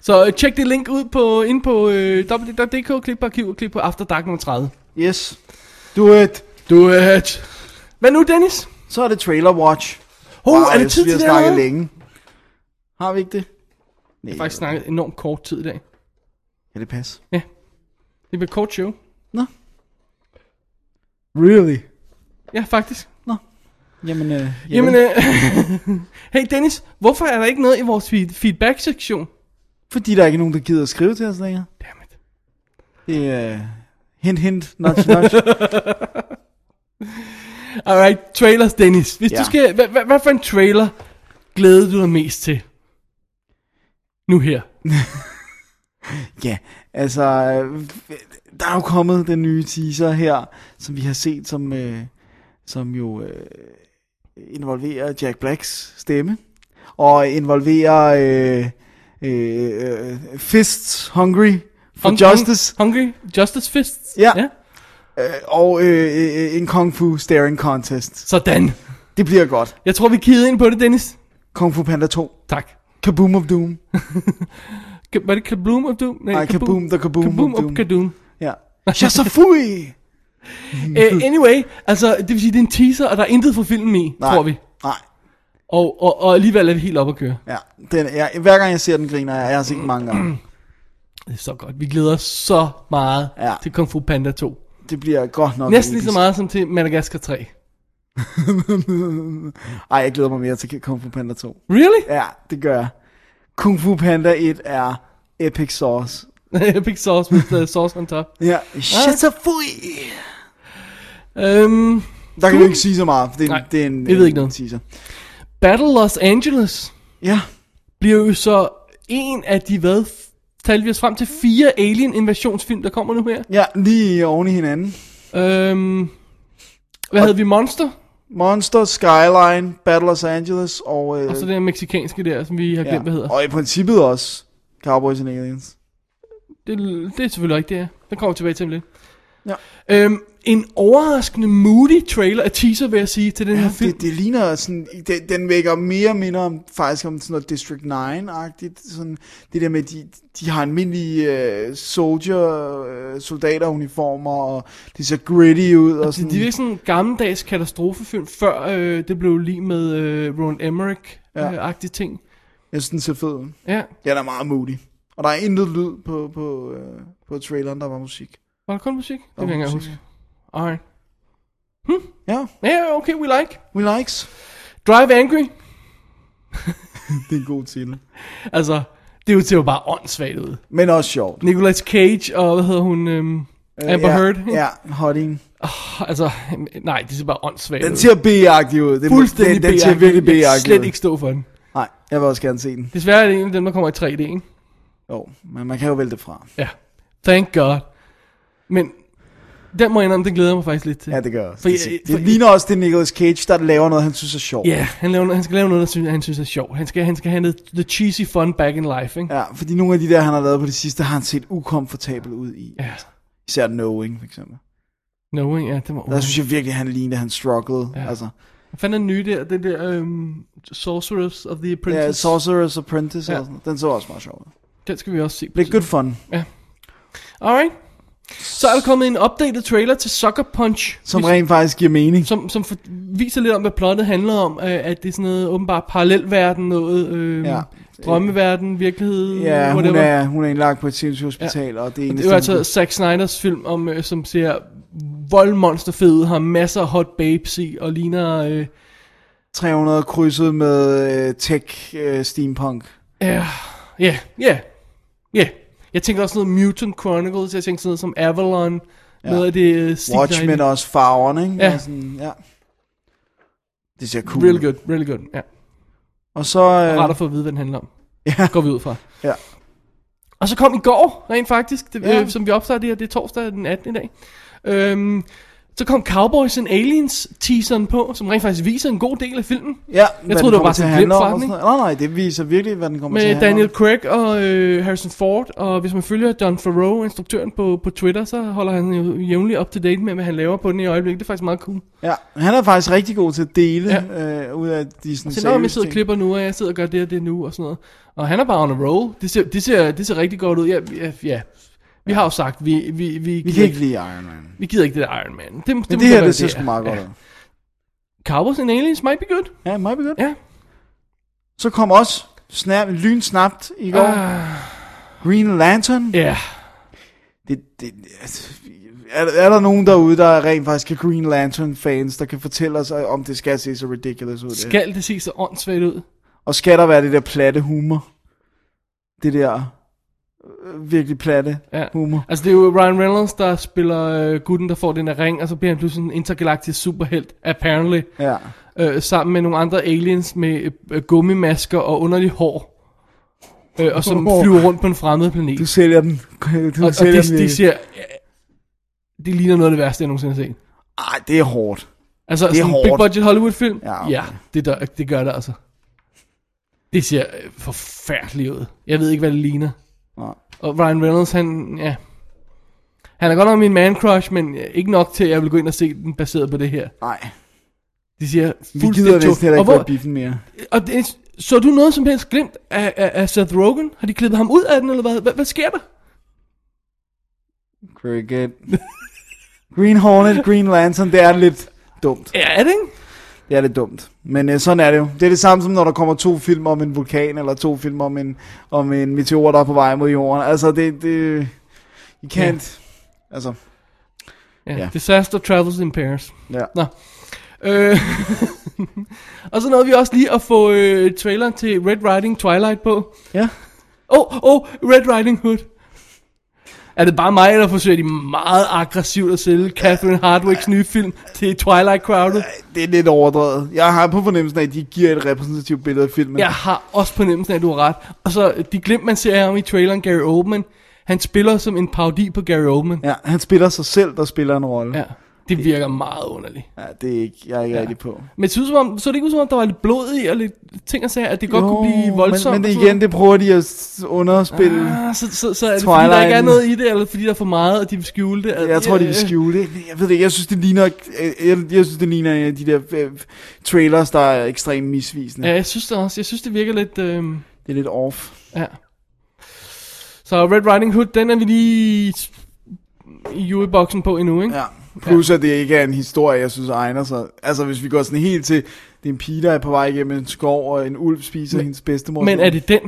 D: Så øh, tjek det link ud på, ind på øh, www.dk, klik på arkiv og klik på After Dark nummer 30.
E: Yes. Do it.
D: Do it. Hvad nu, Dennis?
E: Så er det Trailer Watch.
D: Ho, er det
E: yes,
D: tid til
E: vi har
D: det
E: snakket
D: allerede?
E: længe. Har vi ikke det?
D: Jeg har faktisk snakket enormt kort tid i dag.
E: Kan det passe?
D: Det bliver et kort show.
E: Really?
D: Ja, faktisk.
E: Jamen, øh,
D: Jamen, øh, hey Dennis, hvorfor er der ikke noget i vores feed- feedback-sektion?
E: øh, fordi der er ikke nogen, der gider at skrive til os længere.
D: Dammit.
E: Det er... Øh, hint, hint, nudge, nudge.
D: Alright, trailers, Dennis. Hvis ja.
E: Ja.
D: du skal, hvad, hvad, hvad for en trailer glæder du dig mest til? Nu her.
E: ja, altså... øh, Der er jo kommet den nye teaser her, som vi har set, som, øh, som jo øh, involverer Jack Blacks stemme. Og involverer øh, øh, øh, Fists Hungry for
D: Hung-
E: Justice.
D: Hung- Hungry Justice Fists?
E: Ja. og øh, øh, en Kung Fu Staring Contest.
D: Sådan.
E: Det bliver godt.
D: Jeg tror, vi kigger ind på det, Dennis.
E: Kung Fu Panda 2.
D: Tak.
E: Kaboom of Doom.
D: Ka- Var det Kaboom of Doom?
E: Nej, Kaboom, the Kaboom,
D: Kaboom
E: of Doom.
D: of Kadoom.
E: Ja. Shazafui!
D: Uh, anyway, altså, det vil sige, det er en teaser, og der er intet fra filmen i,
E: Nej.
D: tror vi.
E: Nej.
D: Og, og, og alligevel er vi helt oppe at køre.
E: Ja, den, jeg, hver gang jeg ser den, griner jeg. Jeg har set den mange gange.
D: Det er så godt. Vi glæder os så meget ja.
E: Ja.
D: til Kung Fu Panda 2.
E: Det bliver godt nok.
D: Næsten ligesom lige
E: episk.
D: så meget som til Madagascar 3.
E: Ej, jeg glæder mig mere til Kung Fu Panda 2.
D: Really?
E: Ja, det gør jeg. Kung Fu Panda 1 er epic sauce.
D: Epic sauce with uh, sauce on top.
E: Ja, Shazafui!
D: Um,
E: Der kan du ikke sige så meget, for det er en,
D: Nej,
E: det er en,
D: jeg ved
E: en
D: ikke noget.
E: teaser.
D: Battle Los Angeles
E: Ja,
D: bliver jo så en af de, hvad, talte vi os frem til fire alien-invasionsfilm, der kommer nu her.
E: ja, lige oven i hinanden.
D: Øhm, hvad hedder vi? Monster?
E: Monster, Skyline, Battle Los Angeles og... Øh,
D: Og så det her meksikanske der, som vi har glemt, ja. hvad hedder.
E: Og i princippet også Cowboys and Aliens.
D: Det, det er selvfølgelig rigtigt, det er. Den kommer vi tilbage til om lidt.
E: Ja.
D: Øhm, en overraskende moody trailer, og teaser vil jeg sige, til den ja, her film.
E: Det, det ligner sådan, det, den vækker mere minder om, faktisk om sådan noget District 9-agtigt, sådan det der med, de, de har almindelige øh, soldier, øh, soldateruniformer, og det ser gritty ud, og sådan,
D: Det, det virker sådan en gammeldags katastrofefilm, før øh, det blev lige med øh, Roland
E: Ja.
D: Emmerich-agtig ting.
E: jeg synes, den ser fed ud.
D: Ja,
E: Ja, den er meget moody. Og der er intet lyd på, på, øh, på traileren, der var musik.
D: var der kun musik? Det
E: Der
D: kan jeg ikke
E: var
D: engang
E: musik.
D: huske. Alright.
E: Ja,
D: Ja, yeah, okay, we like.
E: we likes.
D: Drive Angry.
E: Det er en god titel.
D: Altså, det er jo til at bare åndssvagt ud.
E: Men også sjovt.
D: Nicolas Cage og, hvad hedder hun, øhm, Amber
E: Øh, ja,
D: Heard.
E: Ja, Hotting.
D: Altså, nej, det ser bare åndssvagt
E: Den
D: ud.
E: ser B-agtig ud. Det må-
D: fuldstændig
E: den, den ser
D: B-agtig.
E: virkelig
D: Jeg kan
E: B-agtig
D: slet
E: ud.
D: ikke stå for den.
E: Nej, jeg vil også gerne se den.
D: Desværre er det en af dem, der kommer i 3D, ikke?
E: Jo, men man kan jo vælge det fra.
D: Ja. Thank God. Men den må jeg indrømme, den glæder jeg mig faktisk lidt til.
E: Ja, det gør jeg også.
D: For
E: For, det,
D: jeg-
E: det,
D: for-
E: det ligner også, det er Nicolas Cage, der laver noget, han synes er sjovt.
D: Ja, han, laver, han skal lave noget, der synes, han synes er sjovt. Han skal, han skal have noget, the cheesy fun back in life, ikke?
E: Ja, fordi nogle af de der, han har lavet på det sidste, har han set ukomfortabel ud i.
D: Ja.
E: Især Knowing, for eksempel.
D: No, ikke? ja, det var...
E: Der synes jeg virkelig, han lignede, han strugglede.
D: Ja.
E: Ja. Altså,
D: Hvad fanden er den nye der? Den der øhm, Sorceress of the Apprentice?
E: ja, Sorcerer's Apprentice,
D: Ja.
E: ja. sådan. noget. den så også meget sjov. ud.
D: Den skal vi også se. på
E: Bliver good fun,
D: Alright. Så er der kommet en updated trailer til Sucker Punch.
E: som
D: Vi-
E: rent faktisk giver mening.
D: som, som for, viser lidt om, hvad plottet handler om. Øh, at det er sådan noget åbenbart parallelverden, noget øh, ja.
E: Ja.
D: drømmeverden, virkelighed,
E: Ja, hun
D: whatever.
E: er, hun er indlagt på et sindssygt hospital, og det er
D: Det
E: eneste,
D: er jo altså
E: hun-
D: Zack Snyders film, om, øh, som ser voldmonster fed ud, har masser af hot babes i, og ligner... Øh,
E: 300 krydset med øh, tech øh, steampunk.
D: Ja, ja, ja, ja. Jeg tænker også noget Mutant Chronicles, jeg tænker sådan noget som Avalon, Ja. Noget af det uh, stik,
E: Watchmen
D: og...
E: også farverne, ikke?
D: Ja.
E: Og Sådan, ja. Det ser cool.
D: Really good, really good. Ja.
E: Og så... Øh,
D: Ret at få at vide, hvad den handler om.
E: Ja.
D: Går vi ud fra.
E: Ja.
D: Og så kom i går, rent faktisk, det,
E: Ja.
D: ja. øh, som vi optager det her, det er torsdag den 18. i dag. Øhm, så kom Cowboys and Aliens teaseren på, som rent faktisk viser en god del af filmen.
E: Ja,
D: troede,
E: hvad den
D: det var
E: kommer
D: bare
E: til
D: sådan
E: at
D: en
E: handle om og
D: glimtforretning.
E: sådan noget. Nej, nej, det viser virkelig, hvad den kommer til at
D: Med
E: handle
D: Daniel
E: om.
D: Craig og øh, Harrison Ford, og hvis man følger John Favreau, instruktøren på, på Twitter, så holder han jo jævnligt up to date med, hvad han laver på den i øjeblikket. Det er faktisk meget cool.
E: Ja, han er faktisk rigtig god til at dele øh, ud af de sådan
D: Så når jeg
E: seriøse
D: sidder og
E: ting.
D: klipper nu, og jeg sidder og gør det og det nu, og sådan noget. Og han er bare on a roll. Det ser, det ser, det ser rigtig godt ud. Ja, ja, ja. Vi har jo sagt, vi, vi, vi,
E: Vi kan ikke lide Iron Man.
D: vi gider ikke det der Iron Man. Det, det,
E: Men
D: må
E: det her,
D: være,
E: det ser
D: er.
E: sgu meget godt
D: Ja.
E: ud.
D: Cowboys and Aliens might be good.
E: Ja, meget begyndt.
D: Ja.
E: Så kom også snap, lynsnapt i går.
D: Ah.
E: Green Lantern.
D: Ja. Yeah.
E: Det, det, altså, er, er der nogen derude, der rent faktisk er Green Lantern-fans, der kan fortælle os, øh, om det skal se så ridiculous ud? det?
D: Skal det se så åndssvagt ud?
E: Og skal der være det der platte humor? Det der øh, virkelig platte
D: Ja.
E: humor.
D: Altså det er jo Ryan Reynolds, der spiller øh, gutten, der får den her ring, og så bliver han pludselig en intergalaktisk superhelt, apparently.
E: Ja.
D: øh, sammen med nogle andre aliens med øh, gummimasker og underligt hår. Øh, og som
E: Åh.
D: flyver rundt på en fremmed planet.
E: Du sælger den. Du
D: og, og
E: sælger
D: det,
E: den.
D: det
E: virkelig.
D: ser... øh, Det ligner noget af det værste, jeg nogensinde har set.
E: Ej, det er hårdt.
D: Altså,
E: er
D: sådan en
E: hårdt.
D: big budget Hollywood-film?
E: Ja, okay.
D: ja det, der, det gør det altså. Det ser øh, forfærdeligt ud. Jeg ved ikke, hvad det ligner.
E: Nej.
D: Og Ryan Reynolds, han... Ja. Han er godt nok min man-crush, men øh, ikke nok til, at jeg vil gå ind og se den baseret på det her.
E: Nej,
D: Det siger
E: vi gider
D: fuldstændig...
E: næsten heller
D: Og
E: ikke
D: hvor-
E: gå i biffen mere.
D: Og det, så du noget som helst glemt af, af, af Seth Rogen? Har de klippet ham ud af den, eller hvad? Hvad, hvad sker der?
E: Cricket. Green Hornet, Green Lantern, det er lidt dumt.
D: Ja, er det ikke?
E: Det er lidt dumt. Men øh, sådan er det jo. Det er det samme som, når der kommer to film om en vulkan, eller to film om en, om en meteor, der er på vej mod jorden. Altså, det... det you can't... Altså,
D: Ja.
E: Ja.
D: ja. Disaster Travels in Paris.
E: ja.
D: Nå. Øh, og så nåede vi også lige at få øh, traileren til Red Riding Twilight på.
E: Ja.
D: Åh, oh, oh, Red Riding Hood. Er det bare mig, der forsøger de meget aggressivt at sælge Catherine Hardwicks nye film til Twilight Crowded?
E: Det er lidt overdrevet. Jeg har på fornemmelsen af, at de giver et repræsentativt billede af filmen.
D: Jeg har også fornemmelsen af, at du har ret. Og så øh, de glimt, man ser ham i traileren, Gary Oldman. Han spiller som en parodi på Gary Oldman.
E: ja han spiller sig selv, der spiller en rolle.
D: Ja, det virker meget underligt.
E: ja. det er ikke, jeg er ikke ja.
D: Ja.
E: rigtig på.
D: Men det synes, som om, så det ikke ud som om, der var lidt blod i, og lidt ting og sager, at det godt kunne blive voldsomt.
E: Men, men
D: og
E: det
D: sådan
E: igen, det prøver de at s- underspille.
D: noget. Ah, så, så, så er det fordi, der ikke er
E: Twilighten.
D: noget i det, eller fordi der er for meget, og de vil skjule det. at-
E: Jeg tror, de vil
D: Øh,
E: skjule det. Jeg ved det ikke. Jeg synes, det ligner, jeg, jeg synes, det ligner en af de der øh, trailers, der er ekstremt misvisende.
D: Ja, jeg synes det også. Jeg synes, det virker lidt... Øh,
E: Det er lidt off.
D: ja. Så Red Riding Hood, den er vi lige i juleboksen på endnu, ikke?
E: Ja. Plus, at det ikke er en historie, jeg synes egner sig. Altså, hvis vi går sådan helt til, det er en pige, der er på vej igennem en skov, og en ulv spiser men, hendes bedstemor.
D: Men er det den?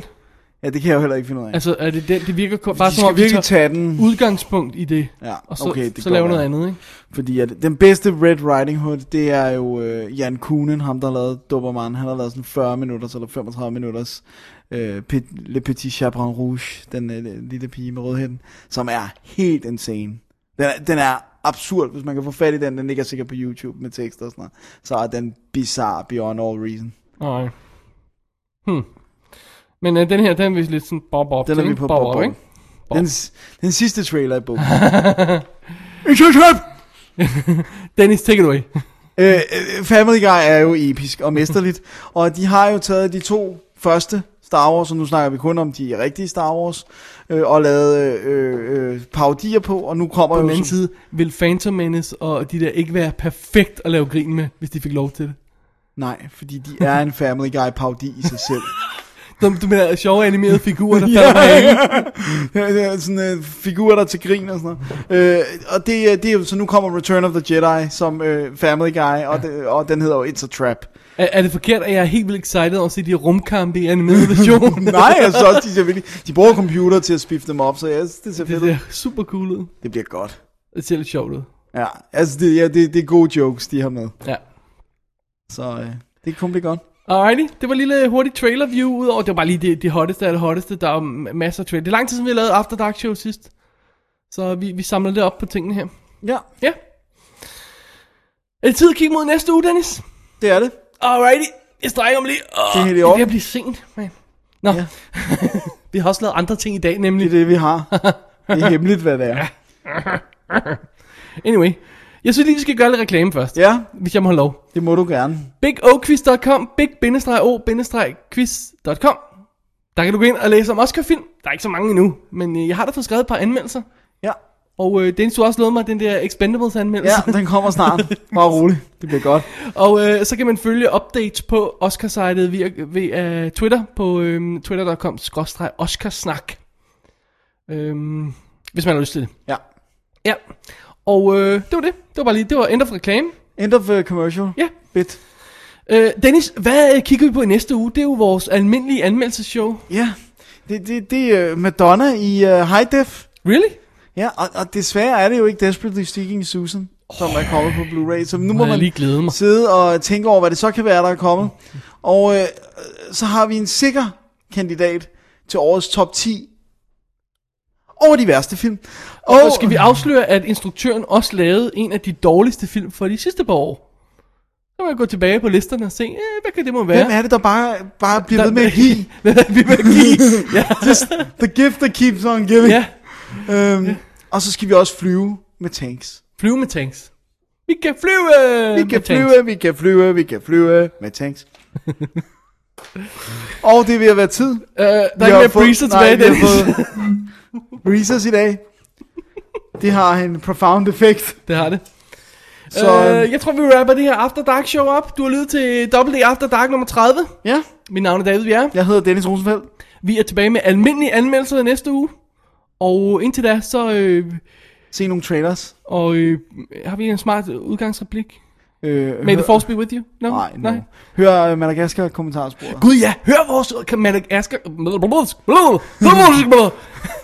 E: Ja, det kan jeg jo heller ikke finde ud af. Altså,
D: Altså, er det den? Det virker kun- bare
E: de
D: som om,
E: skal
D: de
E: virkelig
D: tager
E: tage den,
D: udgangspunkt i det,
E: Ja,
D: og så,
E: okay, det
D: okay, så
E: kan
D: lave
E: godt
D: noget
E: være.
D: andet, ikke?
E: fordi at den bedste Red Riding Hood, det er jo øh, Jan Kunen, ham der lavede Doberman. Han har lavet sådan 40 minutter eller 35 minutters øh, Pet- Le Petit Chaperon Rouge, den øh, lille pige med rødhætten, som er helt insane. Den er, den er absurd, hvis man kan få fat i den. Den ligger sikkert på YouTube med tekster og sådan noget. Så er den bizarre beyond all reason.
D: Nej. Hmm. Men øh, den her, den er vi lidt sådan bob op
E: Den er
D: til,
E: vi
D: ikke?
E: på
D: Bob
E: på-
D: op,
E: på.
D: ikke?
E: Den, s- den sidste trailer i bogen. It's your turn!
D: Dennis, take it away.
E: Øh, øh, Family Guy er jo episk og mesterligt, og de har jo taget de to første Star Wars, og nu snakker vi kun om de rigtige Star Wars, øh, og lavet øh, øh, parodier på, og nu kommer
D: På
E: jo...
D: den anden
E: så-
D: side, vil Phantom Menace og de der ikke være perfekt at lave grin med, hvis de fik lov til det?
E: Nej, fordi de er en Family Guy parodi i sig selv.
D: Du, du mener sjove animerede figurer, der falder på
E: ja,
D: hinanden?
E: ja, ja. sådan øh, figurer, der er til grin og sådan noget. Øh, og det, er- det er jo, så nu kommer Return of the Jedi som øh, Family Guy, og, det, og den hedder jo It's a Trap.
D: er, er, det forkert, at jeg er helt vildt excited over at se de her rumkampe i animeret version?
E: Nej, altså. jeg synes også, de ser virkelig... De bruger computer til at spifte dem op, så jeg synes, det ser
D: Det
E: fedt ud.
D: ser super cool ud.
E: Det bliver godt.
D: Det ser lidt sjovt ud.
E: Ja, altså det, ja, det, det er gode jokes, de har med.
D: Ja.
E: Så øh, det kan kun blive godt.
D: Alrighty, det var en lille hurtig trailer view, udover det var bare lige det, det hotteste af det hotteste, der er jo ma- masser af trailer. Det er lang tid siden vi har lavet After Dark Show sidst, så vi, vi samler lidt op på tingene her.
E: Ja,
D: Ja. Er det tid at kigge mod næste uge, Dennis?
E: det er det. Ah,
D: Alrighty. Jeg strækker mig lige. Oh,
E: Det er helt i
D: det er ved at
E: orden.
D: blive sent, man. Nå.
E: Ja.
D: Ja. vi har også lavet andre ting i dag,
E: Det
D: nemlig.
E: er det, vi har. Det er hemmeligt, hvad det er.
D: Anyway. Jeg synes lige, vi skal gøre lidt reklame først.
E: Ja,
D: Hvis jeg må have lov.
E: det må du gerne.
D: BigOquiz.com, big-o-quiz.com. Der kan du gå ind og læse om Oscar-film. Der er ikke så mange endnu, men øh, jeg har da fået skrevet et par anmeldelser.
E: Ja,
D: Og øh, Dennis, du har også lovet mig den der Expendables-anmeldelse.
E: ja den kommer snart. Bare rolig. Det bliver godt.
D: Og øh, så kan man følge updates på Oscar-sitet via, via uh, Twitter på øh, twitter.com oscarsnak. Øhm, hvis man har lyst til det.
E: Ja.
D: Ja. Og øh, det var det. Det var bare lige, det var end of reklame.
E: End of uh, commercial.
D: Ja.
E: Bit.
D: Øh, Dennis, hvad øh, kigger vi på i næste uge? Det er jo vores almindelige anmeldelseshow.
E: Ja, det, det, det er øh, Madonna i uh, High Def.
D: Really?
E: Ja, og, og desværre er det jo ikke Desperately Seeking Susan, som er kommet på Blu-ray. Så nu må
D: jeg
E: man
D: lige glæde mig.
E: sidde og tænke over, hvad det så kan være, der er kommet. Og øh, øh, så har vi en sikker kandidat til årets top 10 over de værste film. Og,
D: Og mm. skal vi afsløre, at instruktøren også lavede en af de dårligste film for de sidste par år? Så kan man gå tilbage på listerne og se, øh, hvad kan det må være?
E: Hvem er det, der bare, bare bliver ved med at give?
D: vi vil give. Ja.
E: Just the gift that keeps on giving.
D: ja.
E: Øhm, Og så skal vi også flyve med tanks.
D: Flyve med tanks. Vi kan flyve
E: Vi
D: med
E: kan
D: tanks.
E: flyve, vi kan flyve, vi kan flyve med tanks. og det er ved at være tid.
D: Øh, der er
E: Vi har
D: ikke mere
E: fået-
D: breezer
E: nej,
D: tilbage,
E: vi har
D: Dennis.
E: fået Breezers i dag. Det har en profound effekt.
D: Det har det.
E: Så
D: Øh, jeg tror, vi rapper det her After Dark show op. Du har lyttet til Double D After Dark nummer 30.
E: ja,
D: Mit navn er David Bjerre.
E: jeg hedder Dennis Rosenfeldt.
D: Vi er tilbage med almindelige anmeldelser i næste uge. Og indtil da, så øh,
E: Se nogle trailers.
D: og, øh, har vi en smart udgangsreplik.
E: Øh,
D: May
E: hør-
D: the force be with you. No?
E: Nej, nej. Hør øh, Madagaskar kommentarsporet.
D: Gud ja, hør vores Madagaskar.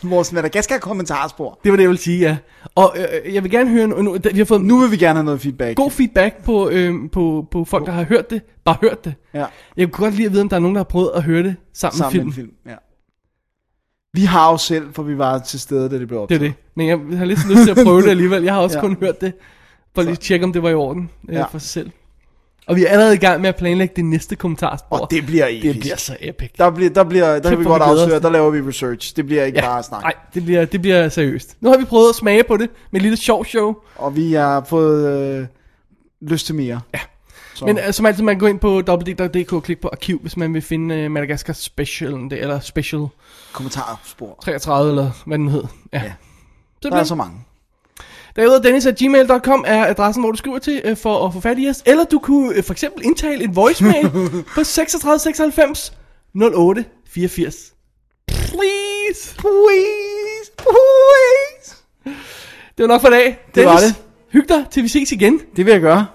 E: Vores Madagaskar kommentarspor.
D: Det var det, jeg ville sige, ja. Og øh, jeg vil gerne høre, nu, nu, vi har fået
E: Nu vil vi gerne have noget feedback.
D: god feedback på, øh, på, på folk, der har hørt det. Bare hørt det.
E: Ja,
D: Jeg kunne godt lide at vide, om der er nogen, der har prøvet at høre det sammen,
E: sammen med
D: sammen
E: en
D: med film.
E: film. Ja. Vi har jo selv, for vi var til stede, da det blev
D: Det
E: optaget.
D: er det. Men jeg har lidt lyst til at prøve det alligevel. Jeg har også
E: Ja.
D: ja. kun hørt det. For lige at tjekke, om det var i orden øh,
E: Ja.
D: ja. for sig selv. Og vi er allerede i gang med at planlægge det næste kommentarspor.
E: Og det bliver episk.
D: det bliver så epic.
E: Der, bliver, der, bliver, der kan vi
D: hvor
E: godt
D: vi glæder os.
E: afsløre, der laver vi research. Det bliver ikke ja. bare snak.
D: nej, det bliver, det bliver seriøst. Nu har vi prøvet at smage på det med et lille sjov show.
E: Og vi har fået øh, lyst til mere. Ja. Så.
D: Men øh, som altid, man kan gå ind på www.dk og klikke på arkiv, hvis man vil finde øh, Madagaskar Special, eller Special
E: kommentarspor.
D: 33, eller hvad den hed. Ja.
E: Ja.
D: ja. Så
E: Der er så mange.
D: Derudover Dennis at gmail.com er adressen, hvor du skriver til øh, for at få fat i os. Eller du kunne øh, for eksempel indtale en voicemail på 36 96 08 84. Please!
E: Please, please.
D: Det var nok for i dag. Dennis,
E: var det.
D: Hyg dig, til vi ses igen.
E: Det vil jeg gøre.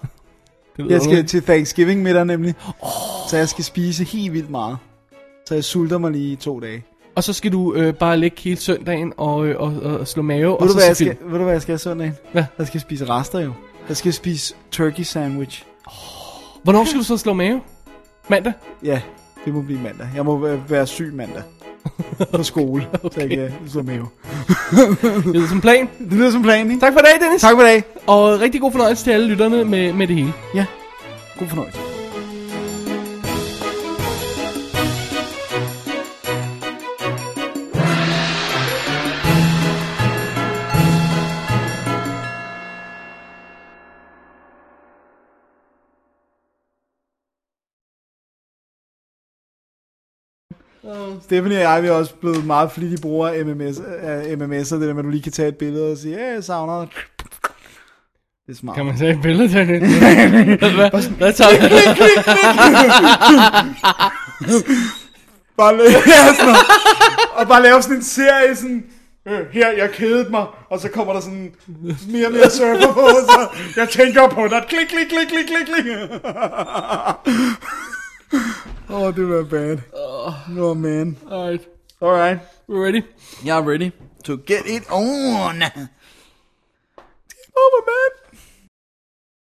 D: Det
E: Jeg skal til Thanksgiving middag nemlig. Oh. Så jeg skal spise helt vildt meget. Så jeg sulter mig lige i to dage.
D: Og så skal du øh, bare lægge hele søndagen og, øh, og, og, og slå mave. og
E: Ved
D: så
E: du, hvad
D: se
E: jeg
D: film.
E: skal, ved du, hvad jeg skal søndag?
D: Hvad?
E: Jeg skal spise rester jo. Jeg skal spise turkey sandwich.
D: Hvornår skal du så slå mave? Mandag?
E: Ja, det må blive mandag. Jeg må være- være syg mandag. På skole. okay. Så jeg kan slå med.
D: Det lyder som plan.
E: Det lyder som planen, ikke?
D: Tak for i dag, Dennis.
E: Tak for i dag.
D: Og rigtig god fornøjelse til alle lytterne med, med det hele.
E: Ja, god fornøjelse. Stephanie og jeg vi er også blevet meget flittige brugere af MMS, af MMS'er, det der med, at du lige kan tage et billede og sige, ja, jeg savner dig. Det er smart.
D: Kan man tage et billede, Dennis? Hvad- Hvad tager du?
E: Bare lave, ja, sådan noget. og bare lave sådan en serie, sådan, øh, her, jeg kedede mig, og så kommer der sådan mere og mere surfer på, så jeg tænker på dig, klik, klik, klik, klik, klik, klik. Åh, oh, det var bad. No, man.
D: Alright,
E: Alright.
D: we're ready.
E: Jeg er ready. To get it on. Over, man.